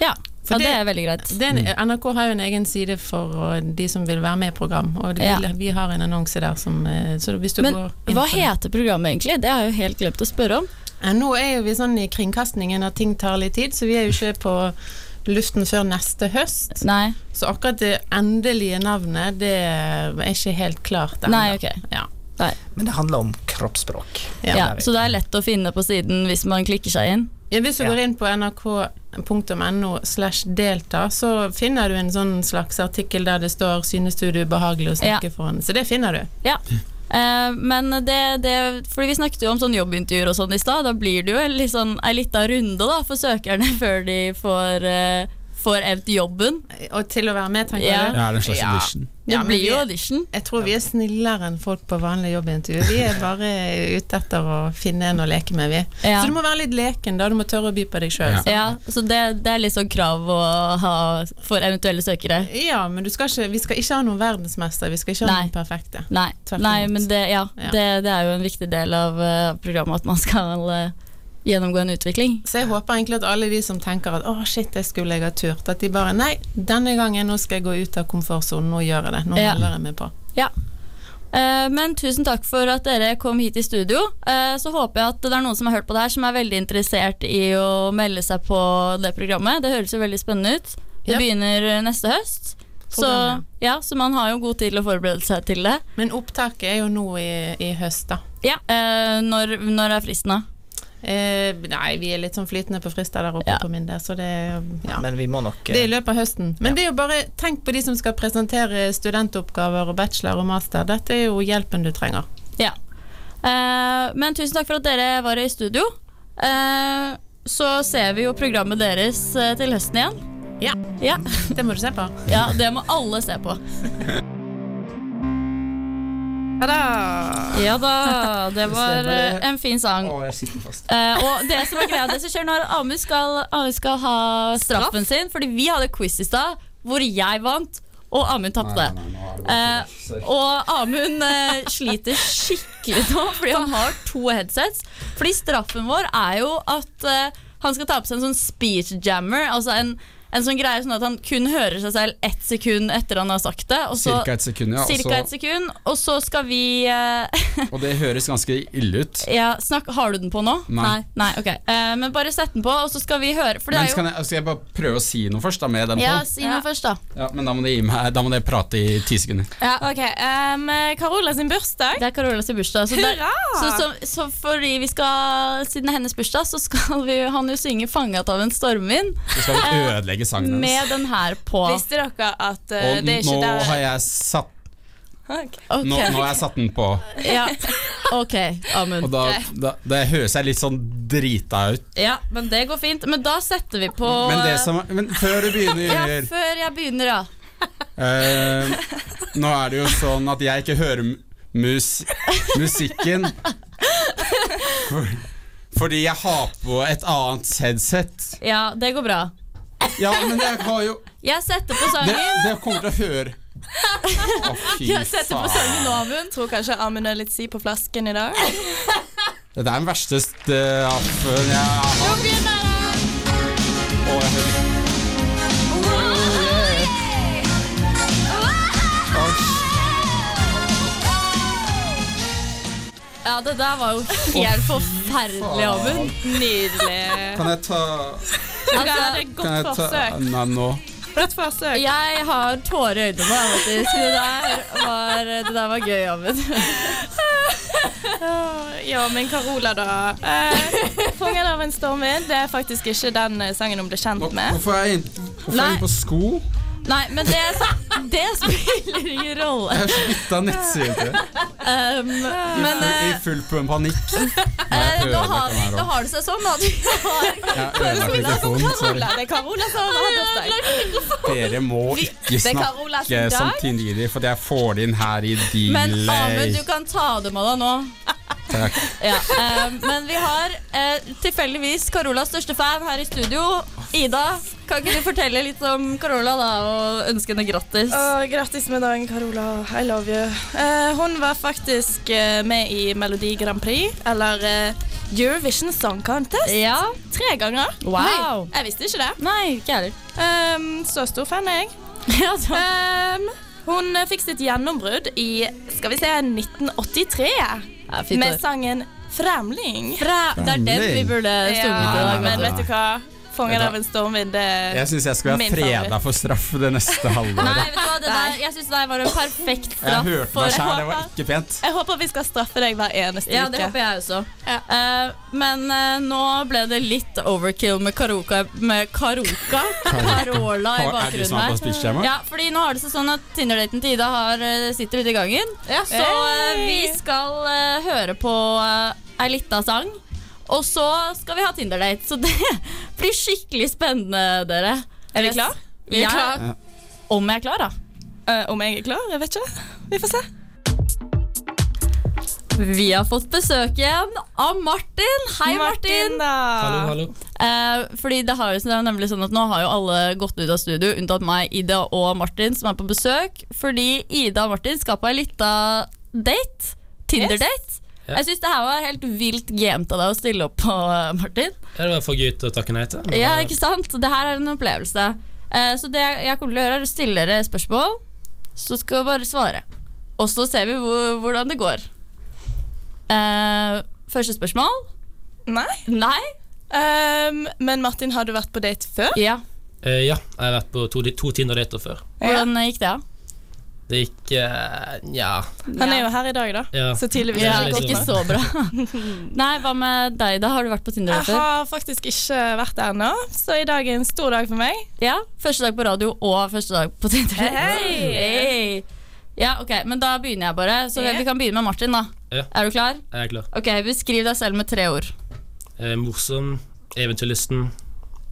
Speaker 5: Ja,
Speaker 10: For
Speaker 5: ja det, er veldig greit.
Speaker 10: Det er en, NRK har jo en egen side for og, de som vil være med i program, og det,
Speaker 5: Ja.
Speaker 10: vi, vi har en annonse der som eh, så hvis du
Speaker 5: Men
Speaker 10: går inn
Speaker 5: hva
Speaker 10: på det.
Speaker 5: heter programmet egentlig? Det har jeg jo helt glemt å spørre om.
Speaker 10: Ja, Nå er jo vi sånn i kringkastingen at ting tar litt tid, så vi er jo ikke på luften før neste høst. Så akkurat det endelige navnet, det er ikke helt klart ennå.
Speaker 5: Nei, ok.
Speaker 10: Ja.
Speaker 11: Men det handler om kroppsspråk.
Speaker 10: Ja.
Speaker 5: Ja, så det er lett å finne på siden hvis man klikker seg inn.
Speaker 10: Ja, hvis du går inn på nrk.no slash delta, så finner du en sånn slags artikkel der det står 'synes du det er ubehagelig å snakke foran'. Så det finner du.
Speaker 5: Ja. Eh, men det, det Fordi vi snakket jo om sånn jobbintervjuer og sånn i stad. Da blir det jo en litt sånn, ei lita runde da for søkerne før de får uh, Får evt jobben.
Speaker 10: Og til å være med, tenker
Speaker 5: ja.
Speaker 10: du?
Speaker 2: Ja, det er en slags
Speaker 10: Ja.
Speaker 2: audition.
Speaker 5: Det
Speaker 10: Ja, men
Speaker 5: blir
Speaker 10: vi-
Speaker 5: jo audition.
Speaker 10: Jeg tror vi er snillere enn folk på vanlige jobbintervju. Vi er bare ute etter å finne en å leke med, vi.
Speaker 5: Ja.
Speaker 10: Så du må være litt leken, da. Du må tørre å by på deg sjøl.
Speaker 5: Ja. så det, det er litt sånn krav å ha for eventuelle søkere.
Speaker 10: Ja, men du skal ikke, vi skal ikke ha noen verdensmester, vi skal ikke ha
Speaker 5: Nei.
Speaker 10: noen perfekte.
Speaker 5: Nei,
Speaker 10: Tvert
Speaker 5: Nei
Speaker 10: imot.
Speaker 5: men det, ja,
Speaker 10: Ja.
Speaker 5: Det, det er jo en viktig del av eh, programmet at man skal eh, gjennomgå en utvikling.
Speaker 10: Så jeg håper egentlig at alle de som tenker at 'å, shit, det skulle jeg ha turt', at de bare 'nei, denne gangen nå skal jeg gå ut av komfortsonen, nå gjør jeg det', nå
Speaker 5: Ja.
Speaker 10: melder jeg meg på.
Speaker 5: Ja. Eh, Men tusen takk for at dere kom hit i studio. Eh, Så håper jeg at det er noen som har hørt på det her, som er veldig interessert i å melde seg på det programmet. Det høres jo veldig spennende ut. Det
Speaker 10: Ja.
Speaker 5: begynner eh, neste høst. Så,
Speaker 10: Programmet.
Speaker 5: ja, så man har jo god tid til å forberede seg til det.
Speaker 10: Men opptaket er jo nå i, i høst, da.
Speaker 5: Ja. Eh, Når, når er fristen, da?
Speaker 10: Eh, nei, vi er litt sånn flytende på frister der oppe på min del, så det ja.
Speaker 11: Men vi må nok eh,
Speaker 10: Det er i løpet av høsten. Men det er jo bare, tenk på de som skal presentere studentoppgaver og bachelor og master. Dette er jo hjelpen du trenger.
Speaker 5: Ja. Eh, Men tusen takk for at dere var i studio. Eh, Så ser vi jo programmet deres eh, til høsten igjen.
Speaker 10: Ja. Det må du se på.
Speaker 5: Ja, det må alle se på.
Speaker 6: Ja da.
Speaker 5: Ja da, det var eh, en fin sang.
Speaker 2: jeg sitter fast.
Speaker 5: Eh, og det som er greia, det som skjer når Amund skal, Amund skal ha straffen sin Fordi vi hadde quiz i stad hvor jeg vant, og Amund tapte. Eh, og Amund eh, sliter skikkelig nå fordi han har to headsets. Fordi straffen vår er jo at eh, han skal ta på seg en sånn speech jammer, altså en en sånn greie sånn at han kun hører seg selv ett sekund etter han har sagt det. Og så,
Speaker 2: Cirka et sekund, ja. og
Speaker 5: cirka
Speaker 2: så-
Speaker 5: et sekund, og så skal vi eh,
Speaker 2: Og det høres ganske ille ut.
Speaker 5: ja, snakk, Har du den på nå?
Speaker 2: Nei.
Speaker 5: Nei, ok. Eh, men bare sett den på, og så skal vi høre. For det
Speaker 2: Men
Speaker 5: er jo
Speaker 2: skal jeg, skal jeg bare prøve å si noe først, da, med den
Speaker 5: Ja,
Speaker 2: på?
Speaker 5: si noe først, da.
Speaker 2: Ja, men da må det gi meg Da må det prate i ti sekunder.
Speaker 6: Ja, ok. Um, Carola sin bursdag.
Speaker 5: Det er Carola sin bursdag. Så, der-
Speaker 6: Hurra!
Speaker 5: så, så, så fordi vi skal, siden det er hennes bursdag, så skal vi, han jo synge 'Fanget av en stormvind'
Speaker 2: Så skal vi ødelegge sangen
Speaker 5: med
Speaker 2: hennes.
Speaker 5: den her på.
Speaker 6: Visste dere at uh, det
Speaker 2: Og
Speaker 6: er ikke
Speaker 2: nå
Speaker 6: der
Speaker 2: har jeg satt
Speaker 6: Ok.
Speaker 2: Nå, nå har jeg satt den på,
Speaker 5: Ja, ok, Amund.
Speaker 2: og da, da det høres jeg litt sånn drita ut.
Speaker 5: Ja, men det går fint. Men da setter vi på
Speaker 2: Men, det som, men før du
Speaker 5: Ja,
Speaker 2: begynner
Speaker 5: før jeg begynner, ja.
Speaker 2: Eh, nå er det jo sånn at jeg ikke hører mu- mus musikken for, fordi jeg har på et annet headset.
Speaker 5: Ja, det går bra.
Speaker 2: Ja, men jeg har jo
Speaker 5: Jeg setter på
Speaker 2: Det,
Speaker 5: sangen.
Speaker 2: det kommer til å høre Å, fy
Speaker 5: Jeg setter på sangen nå, Amund.
Speaker 6: Tror kanskje Amund er litt si på flasken i dag.
Speaker 2: Dette er den verste straffen jeg har hatt. Å, jeg hører
Speaker 5: Ja, det der var jo helt forferdelig, Amund.
Speaker 6: Nydelig.
Speaker 2: Kan jeg ta
Speaker 5: Altså,
Speaker 2: Kan jeg ta Nei, nå.
Speaker 6: Godt forsøk.
Speaker 5: jeg har tårer i øynene, nå, faktisk. Det der var, det der var gøy, Amund.
Speaker 6: Ja, men Carola, da. Eh, 'Fanget av en stormvind' det er faktisk ikke den eh, sangen hun ble kjent med.
Speaker 2: Hvorfor er jeg inn- hvorfor er jeg inne på sko?
Speaker 5: Nei, men det, det spiller ingen rolle.
Speaker 2: Jeg har bytta nettside
Speaker 5: Um, men
Speaker 2: i
Speaker 5: eh,
Speaker 2: full panikk.
Speaker 5: eh, nå, har, nå har det seg sånn at vi har
Speaker 2: Jeg ødela mikrofonen. Sorry.
Speaker 6: Carola, det er Carola som har bursdag.
Speaker 2: Dere må ikke
Speaker 5: det er Carola sin
Speaker 2: snakke
Speaker 5: dag.
Speaker 2: samtidig, for jeg får det inn her i
Speaker 5: Men Amund,
Speaker 2: delay.
Speaker 5: du kan ta det med deg nå.
Speaker 2: Takk.
Speaker 5: Ja, eh, men vi har eh, tilfeldigvis Carolas største fan her i studio. Ida, kan ikke du fortelle litt om Carola da, og ønske henne grattis?
Speaker 6: Åh, grattis med dagen, Carola. I love you. Eh, hun var faktisk eh, med i Melodi Grand Prix, eller eh, Eurovision Song Contest,
Speaker 5: Ja.
Speaker 6: tre ganger.
Speaker 5: Wow.
Speaker 6: Jeg visste ikke det.
Speaker 5: Nei, ikke jeg heller.
Speaker 6: Ehm, så stor fan er jeg.
Speaker 5: Ja, så-
Speaker 6: Ehm, hun eh, fikk sitt gjennombrudd i skal vi se, 1983
Speaker 5: Ja, fint
Speaker 6: med
Speaker 5: år.
Speaker 6: sangen 'Fremling'.
Speaker 5: Fra, det er den vi burde sunget i dag.
Speaker 6: men
Speaker 5: vet du.
Speaker 6: vet du hva? Fanget av en stormvind. det-
Speaker 2: Jeg syns jeg skal være
Speaker 6: Min favoritt.
Speaker 2: freda for straff det neste
Speaker 5: Nei,
Speaker 2: halvåret.
Speaker 5: vet du hva, det der, jeg syns det der var en perfekt
Speaker 2: Jeg
Speaker 5: straff.
Speaker 2: hørte
Speaker 5: for-
Speaker 2: meg sjæl, det var ikke pent.
Speaker 6: Jeg håper vi skal straffe deg hver eneste
Speaker 5: Ja, det
Speaker 6: uke.
Speaker 5: håper jeg også. Eh, men eh, nå ble det litt overkill med Karoka Med Karoka? Carola i
Speaker 2: Er sånn du som er på
Speaker 5: bakgrunnen her.
Speaker 2: spillskjermen?
Speaker 5: Ja, fordi nå har det seg sånn at Tinder-daten til Ida har, eh, sitter ute i gangen. Så eh, vi skal eh, høre på uh, ei lita sang. Og så skal vi ha Tinder-date. Så det blir skikkelig spennende, dere.
Speaker 6: Er vi
Speaker 5: Yes.
Speaker 6: klar? Vi er
Speaker 5: Ja.
Speaker 6: klar.
Speaker 5: Om jeg er klar, da.
Speaker 6: Eh, om jeg er klar? Jeg vet ikke. Vi får se.
Speaker 5: Vi har fått besøk igjen av Martin. Hei, Martin.
Speaker 6: da.
Speaker 5: Eh, fordi det, har, jo- det er nemlig sånn at Nå har jo alle gått ut av studio, unntatt meg, Ida og Martin, som er på besøk. Fordi Ida og Martin skal på ei lita date. Tinder-date. Jeg syns det her var helt vilt gamet av deg å stille opp på, eh, Martin.
Speaker 12: Ja, det var for gøy til å takke nei til.
Speaker 5: Ja, ikke sant? Det her er en opplevelse. Eh, så det jeg kommer til å gjøre, er å stille dere spørsmål, så skal dere bare svare. Og så ser vi hvor, hvordan det går. Eh, første spørsmål?
Speaker 6: Nei.
Speaker 5: Nei?
Speaker 6: Ehm, men Martin, har du vært på date før?
Speaker 5: Ja.
Speaker 12: Eh, ja, jeg har vært på to, to Tinder-dater før.
Speaker 5: Hvordan eh, gikk det, da?
Speaker 12: Det gikk eh, Nja.
Speaker 6: Han er jo her i dag, da.
Speaker 12: Ja.
Speaker 6: Så tydeligvis
Speaker 5: Ja,
Speaker 6: er
Speaker 5: det
Speaker 6: det
Speaker 5: går
Speaker 6: godt
Speaker 5: ikke
Speaker 6: nok.
Speaker 5: så bra. Nei, hva med deg, da? Har du vært på Tinder
Speaker 6: Jeg
Speaker 5: før?
Speaker 6: har faktisk ikke vært der ennå, så i dag er en stor dag for meg.
Speaker 5: Ja, Første dag på radio og første dag på Tinder.
Speaker 6: Hei!
Speaker 5: Hei! Ja, ok, men Da begynner jeg bare. Så
Speaker 6: Ja.
Speaker 5: Vi kan begynne med Martin. da
Speaker 12: Ja.
Speaker 5: Er du klar?
Speaker 12: Jeg er klar.
Speaker 5: Ok, Beskriv deg selv med tre ord.
Speaker 12: Eh, morsom, eventyrlysten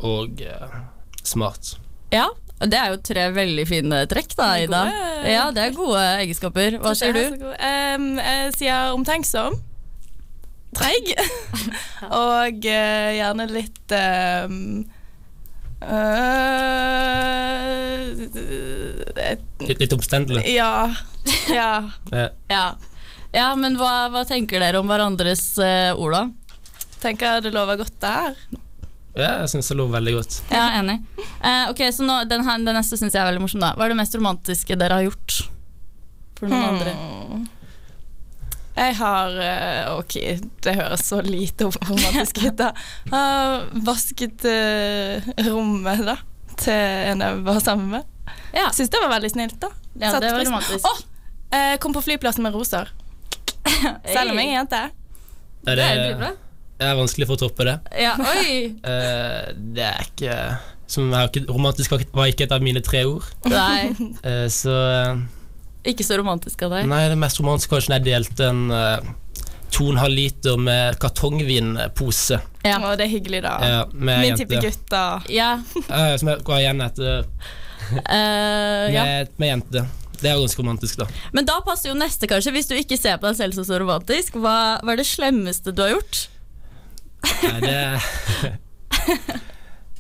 Speaker 12: og eh, smart.
Speaker 5: Ja, Det er jo tre veldig fine trekk, da,
Speaker 6: Det er
Speaker 5: Ida.
Speaker 6: gode
Speaker 5: Ja, Det er gode egenskaper. Hva sier
Speaker 6: Jeg er
Speaker 5: du?
Speaker 6: så god. Ehm, jeg sier omtenksom. Treig. Og eh, gjerne litt ehm, eh,
Speaker 12: Litt, litt omstendelig.
Speaker 6: Ja. Ja.
Speaker 12: Eh,
Speaker 5: Ja, ja men hva, hva tenker dere om hverandres eh, ord, da?
Speaker 6: Tenker det lover godt der.
Speaker 12: Ja, jeg syns det lå veldig godt.
Speaker 5: Ja, enig. Eh, ok, så nå, den, her, den neste syns jeg er veldig morsom, da. Hva er det mest romantiske dere har gjort for
Speaker 6: Hmm.
Speaker 5: noen andre?
Speaker 6: Jeg har eh, Ok, det høres så lite romantisk ut, da. Har vasket eh, rommet, da, til en jeg var sammen med.
Speaker 5: Ja.
Speaker 6: Syns det var veldig snilt, da.
Speaker 5: Ja,
Speaker 6: Satt
Speaker 5: det var
Speaker 6: pris-
Speaker 5: romantisk.
Speaker 6: Å! eh, kom på flyplassen med roser. Selv om jeg er jente.
Speaker 12: Er
Speaker 6: Det er jo dritbra.
Speaker 12: det er vanskelig for å toppe det.
Speaker 5: Ja, oi!
Speaker 12: Eh, det er ikke som er jo ikke, Romantisk var ikke- var ikke et av mine tre ord.
Speaker 5: Nei,
Speaker 12: Eh, så eh,
Speaker 5: ikke så romantisk av deg.
Speaker 12: Nei, det mest romantiske var kanskje når jeg delte en eh, to og en halv liter med kartongvinpose.
Speaker 5: Ja.
Speaker 6: Å, det er hyggelig, da.
Speaker 12: Ja, med
Speaker 6: Min
Speaker 12: jente.
Speaker 6: type gutter.
Speaker 5: Ja.
Speaker 12: Eh, som jeg går igjen etter
Speaker 5: Eh, ja.
Speaker 12: med, med jente. Det er jo ganske romantisk, da.
Speaker 5: Men da passer jo neste, kanskje. Hvis du ikke ser på deg selv som så romantisk, hva, hva er det slemmeste du har gjort?
Speaker 12: Nei, det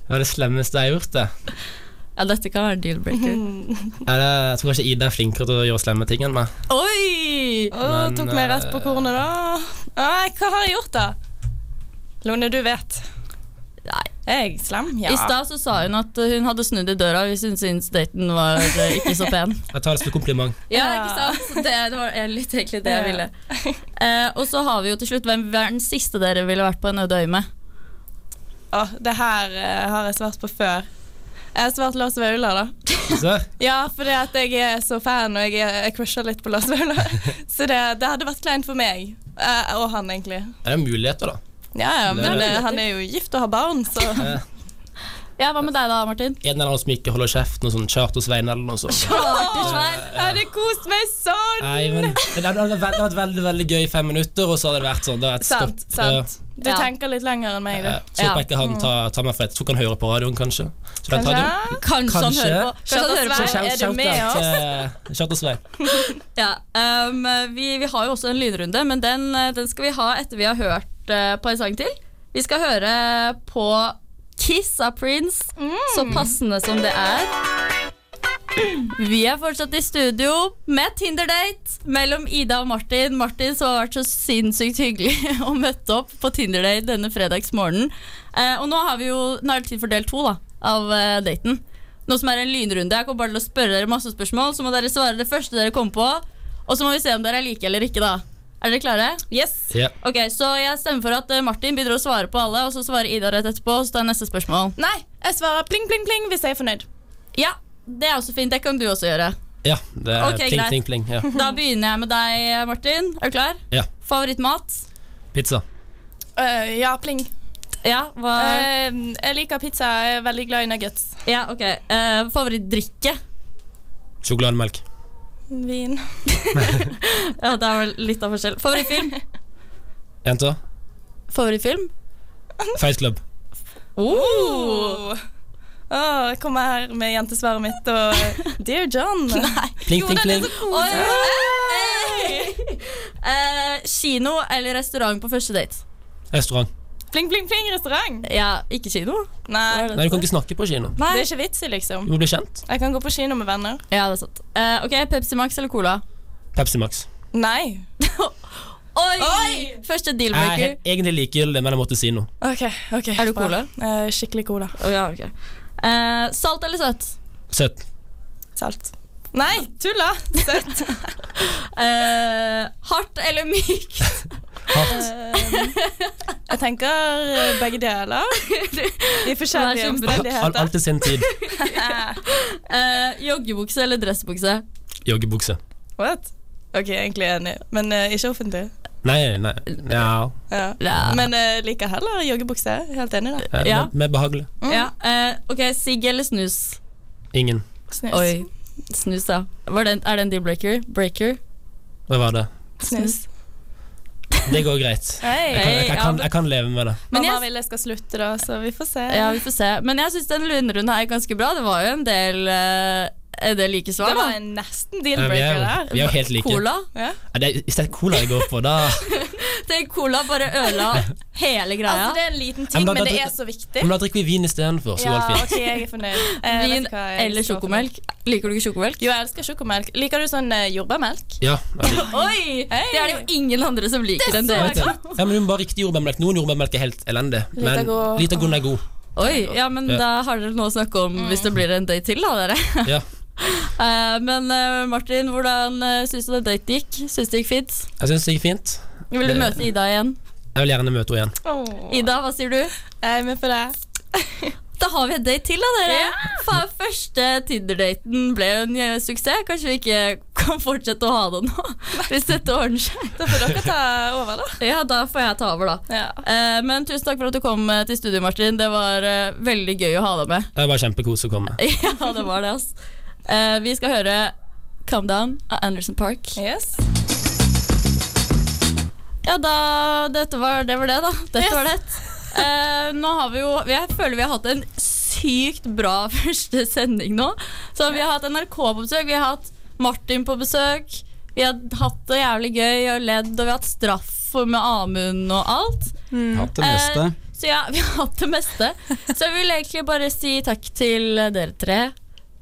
Speaker 12: Det var det slemmeste jeg har gjort, det.
Speaker 5: Ja, dette kan være en deal-breaker.
Speaker 12: Ja, det jeg tror kanskje Ida er flinkere til å gjøre slemme ting enn meg.
Speaker 5: Oi!
Speaker 6: Å,
Speaker 12: Men,
Speaker 6: tok meg rett
Speaker 12: eh,
Speaker 6: på kornet, da. Nei, hva har jeg gjort, da? Lone, du vet.
Speaker 5: Nei.
Speaker 6: Er jeg slem? Ja.
Speaker 5: I stad så sa hun at hun hadde snudd i døra hvis hun syntes daten var eh, ikke så pen.
Speaker 12: Jeg tar det som et kompliment.
Speaker 5: Ja, ikke sant? Så Det, det var litt egentlig det jeg ville. Eh, og så har vi jo til slutt hvem er den siste dere ville vært på en øde øy med?
Speaker 6: Å, det her eh, har jeg svart på før. Jeg har svart Lars Vaular, da.
Speaker 12: Så,
Speaker 6: Ja, fordi at jeg er så fan, og jeg, er- jeg crusher litt på Lars Vaular. Så det, det hadde vært kleint for meg. Eh, og han, egentlig.
Speaker 12: er det muligheter, da?
Speaker 6: Ja, ja, men
Speaker 12: Det er-
Speaker 6: eh, han er jo gift og har barn, så
Speaker 12: Eh,
Speaker 5: Ja, Hva med deg da, Martin?
Speaker 12: En eller annen som ikke holder kjeft, noe sånn Charter-Svein eller noe sånt.
Speaker 5: Chartersvein!
Speaker 6: Jeg hadde kost meg sånn!
Speaker 12: Nei, men Det hadde vært veldig, vært veldig, veldig gøy i fem minutter, og så hadde det vært sånn. Det hadde vært stopp.
Speaker 6: Sant, sant. Du
Speaker 5: Ja.
Speaker 6: tenker litt lenger enn meg,
Speaker 12: Eh, eh,
Speaker 6: du.
Speaker 12: så håper jeg ikke han tar, tar meg for et. Jeg tror ikke han hører på radioen, kanskje. Så den tar du.
Speaker 6: Kanskje?
Speaker 5: Kanskje han
Speaker 12: Kanskje.
Speaker 5: hører på. Kanskje han hører på.
Speaker 12: Shout-
Speaker 6: Chartersvein. Er du
Speaker 12: shout
Speaker 6: med
Speaker 12: out til eh, Charter-Svein.
Speaker 5: Ja, ehm, vi, vi har jo også en lynrunde, men den, eh, den skal vi ha etter vi har hørt eh, på en sang til. Vi skal høre på Kiss av Prince, så passende som det er. Vi er fortsatt i studio med Tinder-date mellom Ida og Martin. Martin som har vært så sinnssykt hyggelig og møtt opp på Tinder-date denne fredagsmorgenen. Eh, og nå, har vi jo, nå er det tid for del to da, av eh, daten. Noe som er en lynrunde. Jeg kommer bare til å spørre dere masse spørsmål, så må dere svare det første dere kommer på. Og så må vi se om dere er like eller ikke, da. Er dere klare?
Speaker 6: Yes.
Speaker 12: Ja.
Speaker 5: Ok, Så jeg stemmer for at eh, Martin begynner å svare på alle, og så svarer Ida rett etterpå. Og så tar jeg neste spørsmål.
Speaker 6: Nei, jeg svarer pling, pling, pling hvis jeg er fornøyd.
Speaker 5: Ja, det er også fint. Det kan du også gjøre.
Speaker 12: ja, det er
Speaker 5: Ok,
Speaker 12: pling,
Speaker 5: greit.
Speaker 12: Eh, pling, pling. Ja.
Speaker 5: Da begynner jeg med deg, Martin. Er du klar?
Speaker 12: Ja.
Speaker 5: Favorittmat?
Speaker 12: Pizza.
Speaker 5: Eh,
Speaker 6: Øh, ja, pling.
Speaker 5: Ja, hva
Speaker 6: Øh, jeg liker pizza. Jeg er veldig glad i nuggets.
Speaker 5: Ja, ok. Eh, favorittdrikke?
Speaker 12: Sjokolademelk.
Speaker 6: Vin.
Speaker 5: Ja, det er vel litt av forskjell. Favorittfilm?
Speaker 12: Jenter.
Speaker 5: Favorittfilm?
Speaker 12: Fight Club.
Speaker 5: Uh.
Speaker 6: Oh. Åh, jeg kommer her med jentesvaret mitt og Dear John. Nei.
Speaker 12: Pling, pling, pling.
Speaker 5: Oi, hei! Eh, kino eller restaurant på første date?
Speaker 12: Restaurant.
Speaker 6: Pling, pling, pling restaurant.
Speaker 5: Ja, ikke kino.
Speaker 6: Nei,
Speaker 12: Nei, du kan ikke snakke på kino.
Speaker 6: det er ikke vits i, liksom.
Speaker 12: Du må bli kjent.
Speaker 6: Jeg kan gå på kino med venner.
Speaker 5: Ja, det er sant. Eh, ok, Pepsi Max eller Cola?
Speaker 12: Pepsi Max.
Speaker 6: Nei.
Speaker 5: Oi!
Speaker 6: Oi!
Speaker 5: Første
Speaker 12: Jeg er
Speaker 5: dealbreaker.
Speaker 12: he- egentlig likegyldig, men jeg måtte si noe.
Speaker 6: OK. ok
Speaker 5: Er du
Speaker 6: bra.
Speaker 5: cola?
Speaker 6: Eh, skikkelig cola.
Speaker 5: Å, ja, ok. Eh, salt eller søtt?
Speaker 12: Søtt.
Speaker 6: Salt. Nei, tulla! Søtt.
Speaker 5: Eh, hardt eller mykt?
Speaker 12: Hardt.
Speaker 6: Jeg tenker eh, begge deler. I forskjellige
Speaker 5: Det
Speaker 12: Al-
Speaker 5: er
Speaker 12: al-
Speaker 6: omstendigheter.
Speaker 12: Alt til sin tid.
Speaker 5: Eh, joggebukse eller dressbukse?
Speaker 12: Joggebukse.
Speaker 6: What? Ok, egentlig enig, men eh, ikke offentlig.
Speaker 12: Nei, nei Ja.
Speaker 6: Ja.
Speaker 5: Ja.
Speaker 6: Men eh, liker heller joggebukse. Helt enig, da.
Speaker 12: Eh,
Speaker 5: Ja.
Speaker 12: men- Men behagelig.
Speaker 5: Ja, eh, ok, Sigg eller snus?
Speaker 12: Ingen.
Speaker 6: Snus.
Speaker 5: Oi, snus, da. Var den, er det en deal-breaker? Breaker?
Speaker 12: Hva var det?
Speaker 6: Snus.
Speaker 12: Det går greit.
Speaker 6: Hei.
Speaker 12: Jeg kan, jeg, jeg,
Speaker 5: ja,
Speaker 12: kan,
Speaker 5: men-
Speaker 12: jeg kan leve med det.
Speaker 5: Men
Speaker 6: Mamma
Speaker 5: jeg-
Speaker 6: vil jeg skal slutte, da, så vi får se.
Speaker 5: Ja, vi får se. Men jeg syns den lundrunden her er ganske bra. Det var jo en del, eh, en del like svar.
Speaker 6: det var
Speaker 5: da.
Speaker 6: en nesten
Speaker 12: Ja, vi, er
Speaker 6: deal-breaker
Speaker 12: jo, vi
Speaker 6: der.
Speaker 12: er jo helt like.
Speaker 5: Cola.
Speaker 6: Ja.
Speaker 12: Ja, det er, hvis det er cola jeg går på, da
Speaker 5: Tenk, cola bare ødela hele greia.
Speaker 6: Altså, det er en liten
Speaker 12: Ja,
Speaker 6: ting,
Speaker 12: men da-
Speaker 6: men det
Speaker 12: da-
Speaker 6: er så viktig.
Speaker 12: Men da drikker vi vin istedenfor, så
Speaker 6: Ja,
Speaker 12: går det fint.
Speaker 6: ok, jeg er fornøyd. Eh, vet
Speaker 5: Vin
Speaker 6: du hva jeg
Speaker 5: eller
Speaker 6: står for?
Speaker 5: sjokomelk. Liker du ikke sjokomelk?
Speaker 6: Jo, jeg elsker sjokomelk. Liker du sånn eh, jordbærmelk?
Speaker 12: Ja, ja, det-
Speaker 5: Oi! Det er det jo ingen andre som liker
Speaker 12: jeg
Speaker 5: enn dere.
Speaker 12: vet det. ja, men Du må bare ha riktig jordbærmelk. Noen jordbærmelk er helt elendig, men
Speaker 6: Litago-
Speaker 12: Litagon er god.
Speaker 5: Oi, ja, men
Speaker 12: Ja.
Speaker 5: da har dere noe å snakke om hvis det blir en date til, da, dere.
Speaker 12: Ja.
Speaker 5: Eh, men eh, Martin, hvordan uh, syns du den daten gikk? Syns det gikk fint?
Speaker 12: Jeg syns det gikk fint.
Speaker 5: Vil du
Speaker 12: Det-
Speaker 5: møte Ida igjen?
Speaker 12: Jeg vil gjerne møte henne igjen.
Speaker 5: Ida, hva sier du? Jeg er med på det. Da har vi en date til, da, dere. Faen, første Tinder-daten ble jo en eh, suksess. Kanskje vi ikke kan fortsette å ha det nå, hvis dette ordner seg. Da får dere ta over, da. Ja, da får jeg ta over, da. Eh, men tusen takk for at du kom eh, til studio, Martin. Det var eh, veldig gøy å ha deg med.
Speaker 12: Det var kjempekos å komme.
Speaker 5: ja, det var det, ass. Eh, vi skal høre Calm Down av Anderson Park. Ja, da Dette var det, var det da. Dette var det. Eh, nå har vi jo Jeg føler vi har hatt en sykt bra første sending nå. Så vi har hatt NRK på besøk, vi har hatt Martin på besøk. Vi har hatt det jævlig gøy og ledd, og vi har hatt straff med Amund og alt.
Speaker 2: Hatt det meste.
Speaker 5: Eh, så ja, vi har hatt det meste. Så jeg vil egentlig bare si takk til dere tre.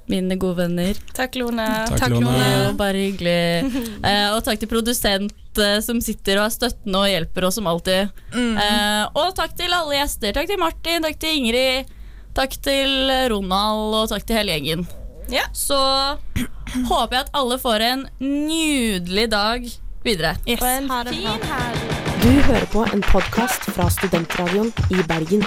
Speaker 5: Mine gode venner. Takk, Lone.
Speaker 2: Takk, Lone.
Speaker 5: Det var Bare hyggelig. Eh, og takk til produsent eh, som sitter og er støttende og hjelper oss som alltid. Eh, og takk til alle gjester. Takk til Martin, takk til Ingrid, takk til Ronald og takk til hele gjengen. Så håper jeg at alle får en nydelig dag videre. Og en fin helg.
Speaker 1: Du hører på en podkast fra Studentradioen i Bergen.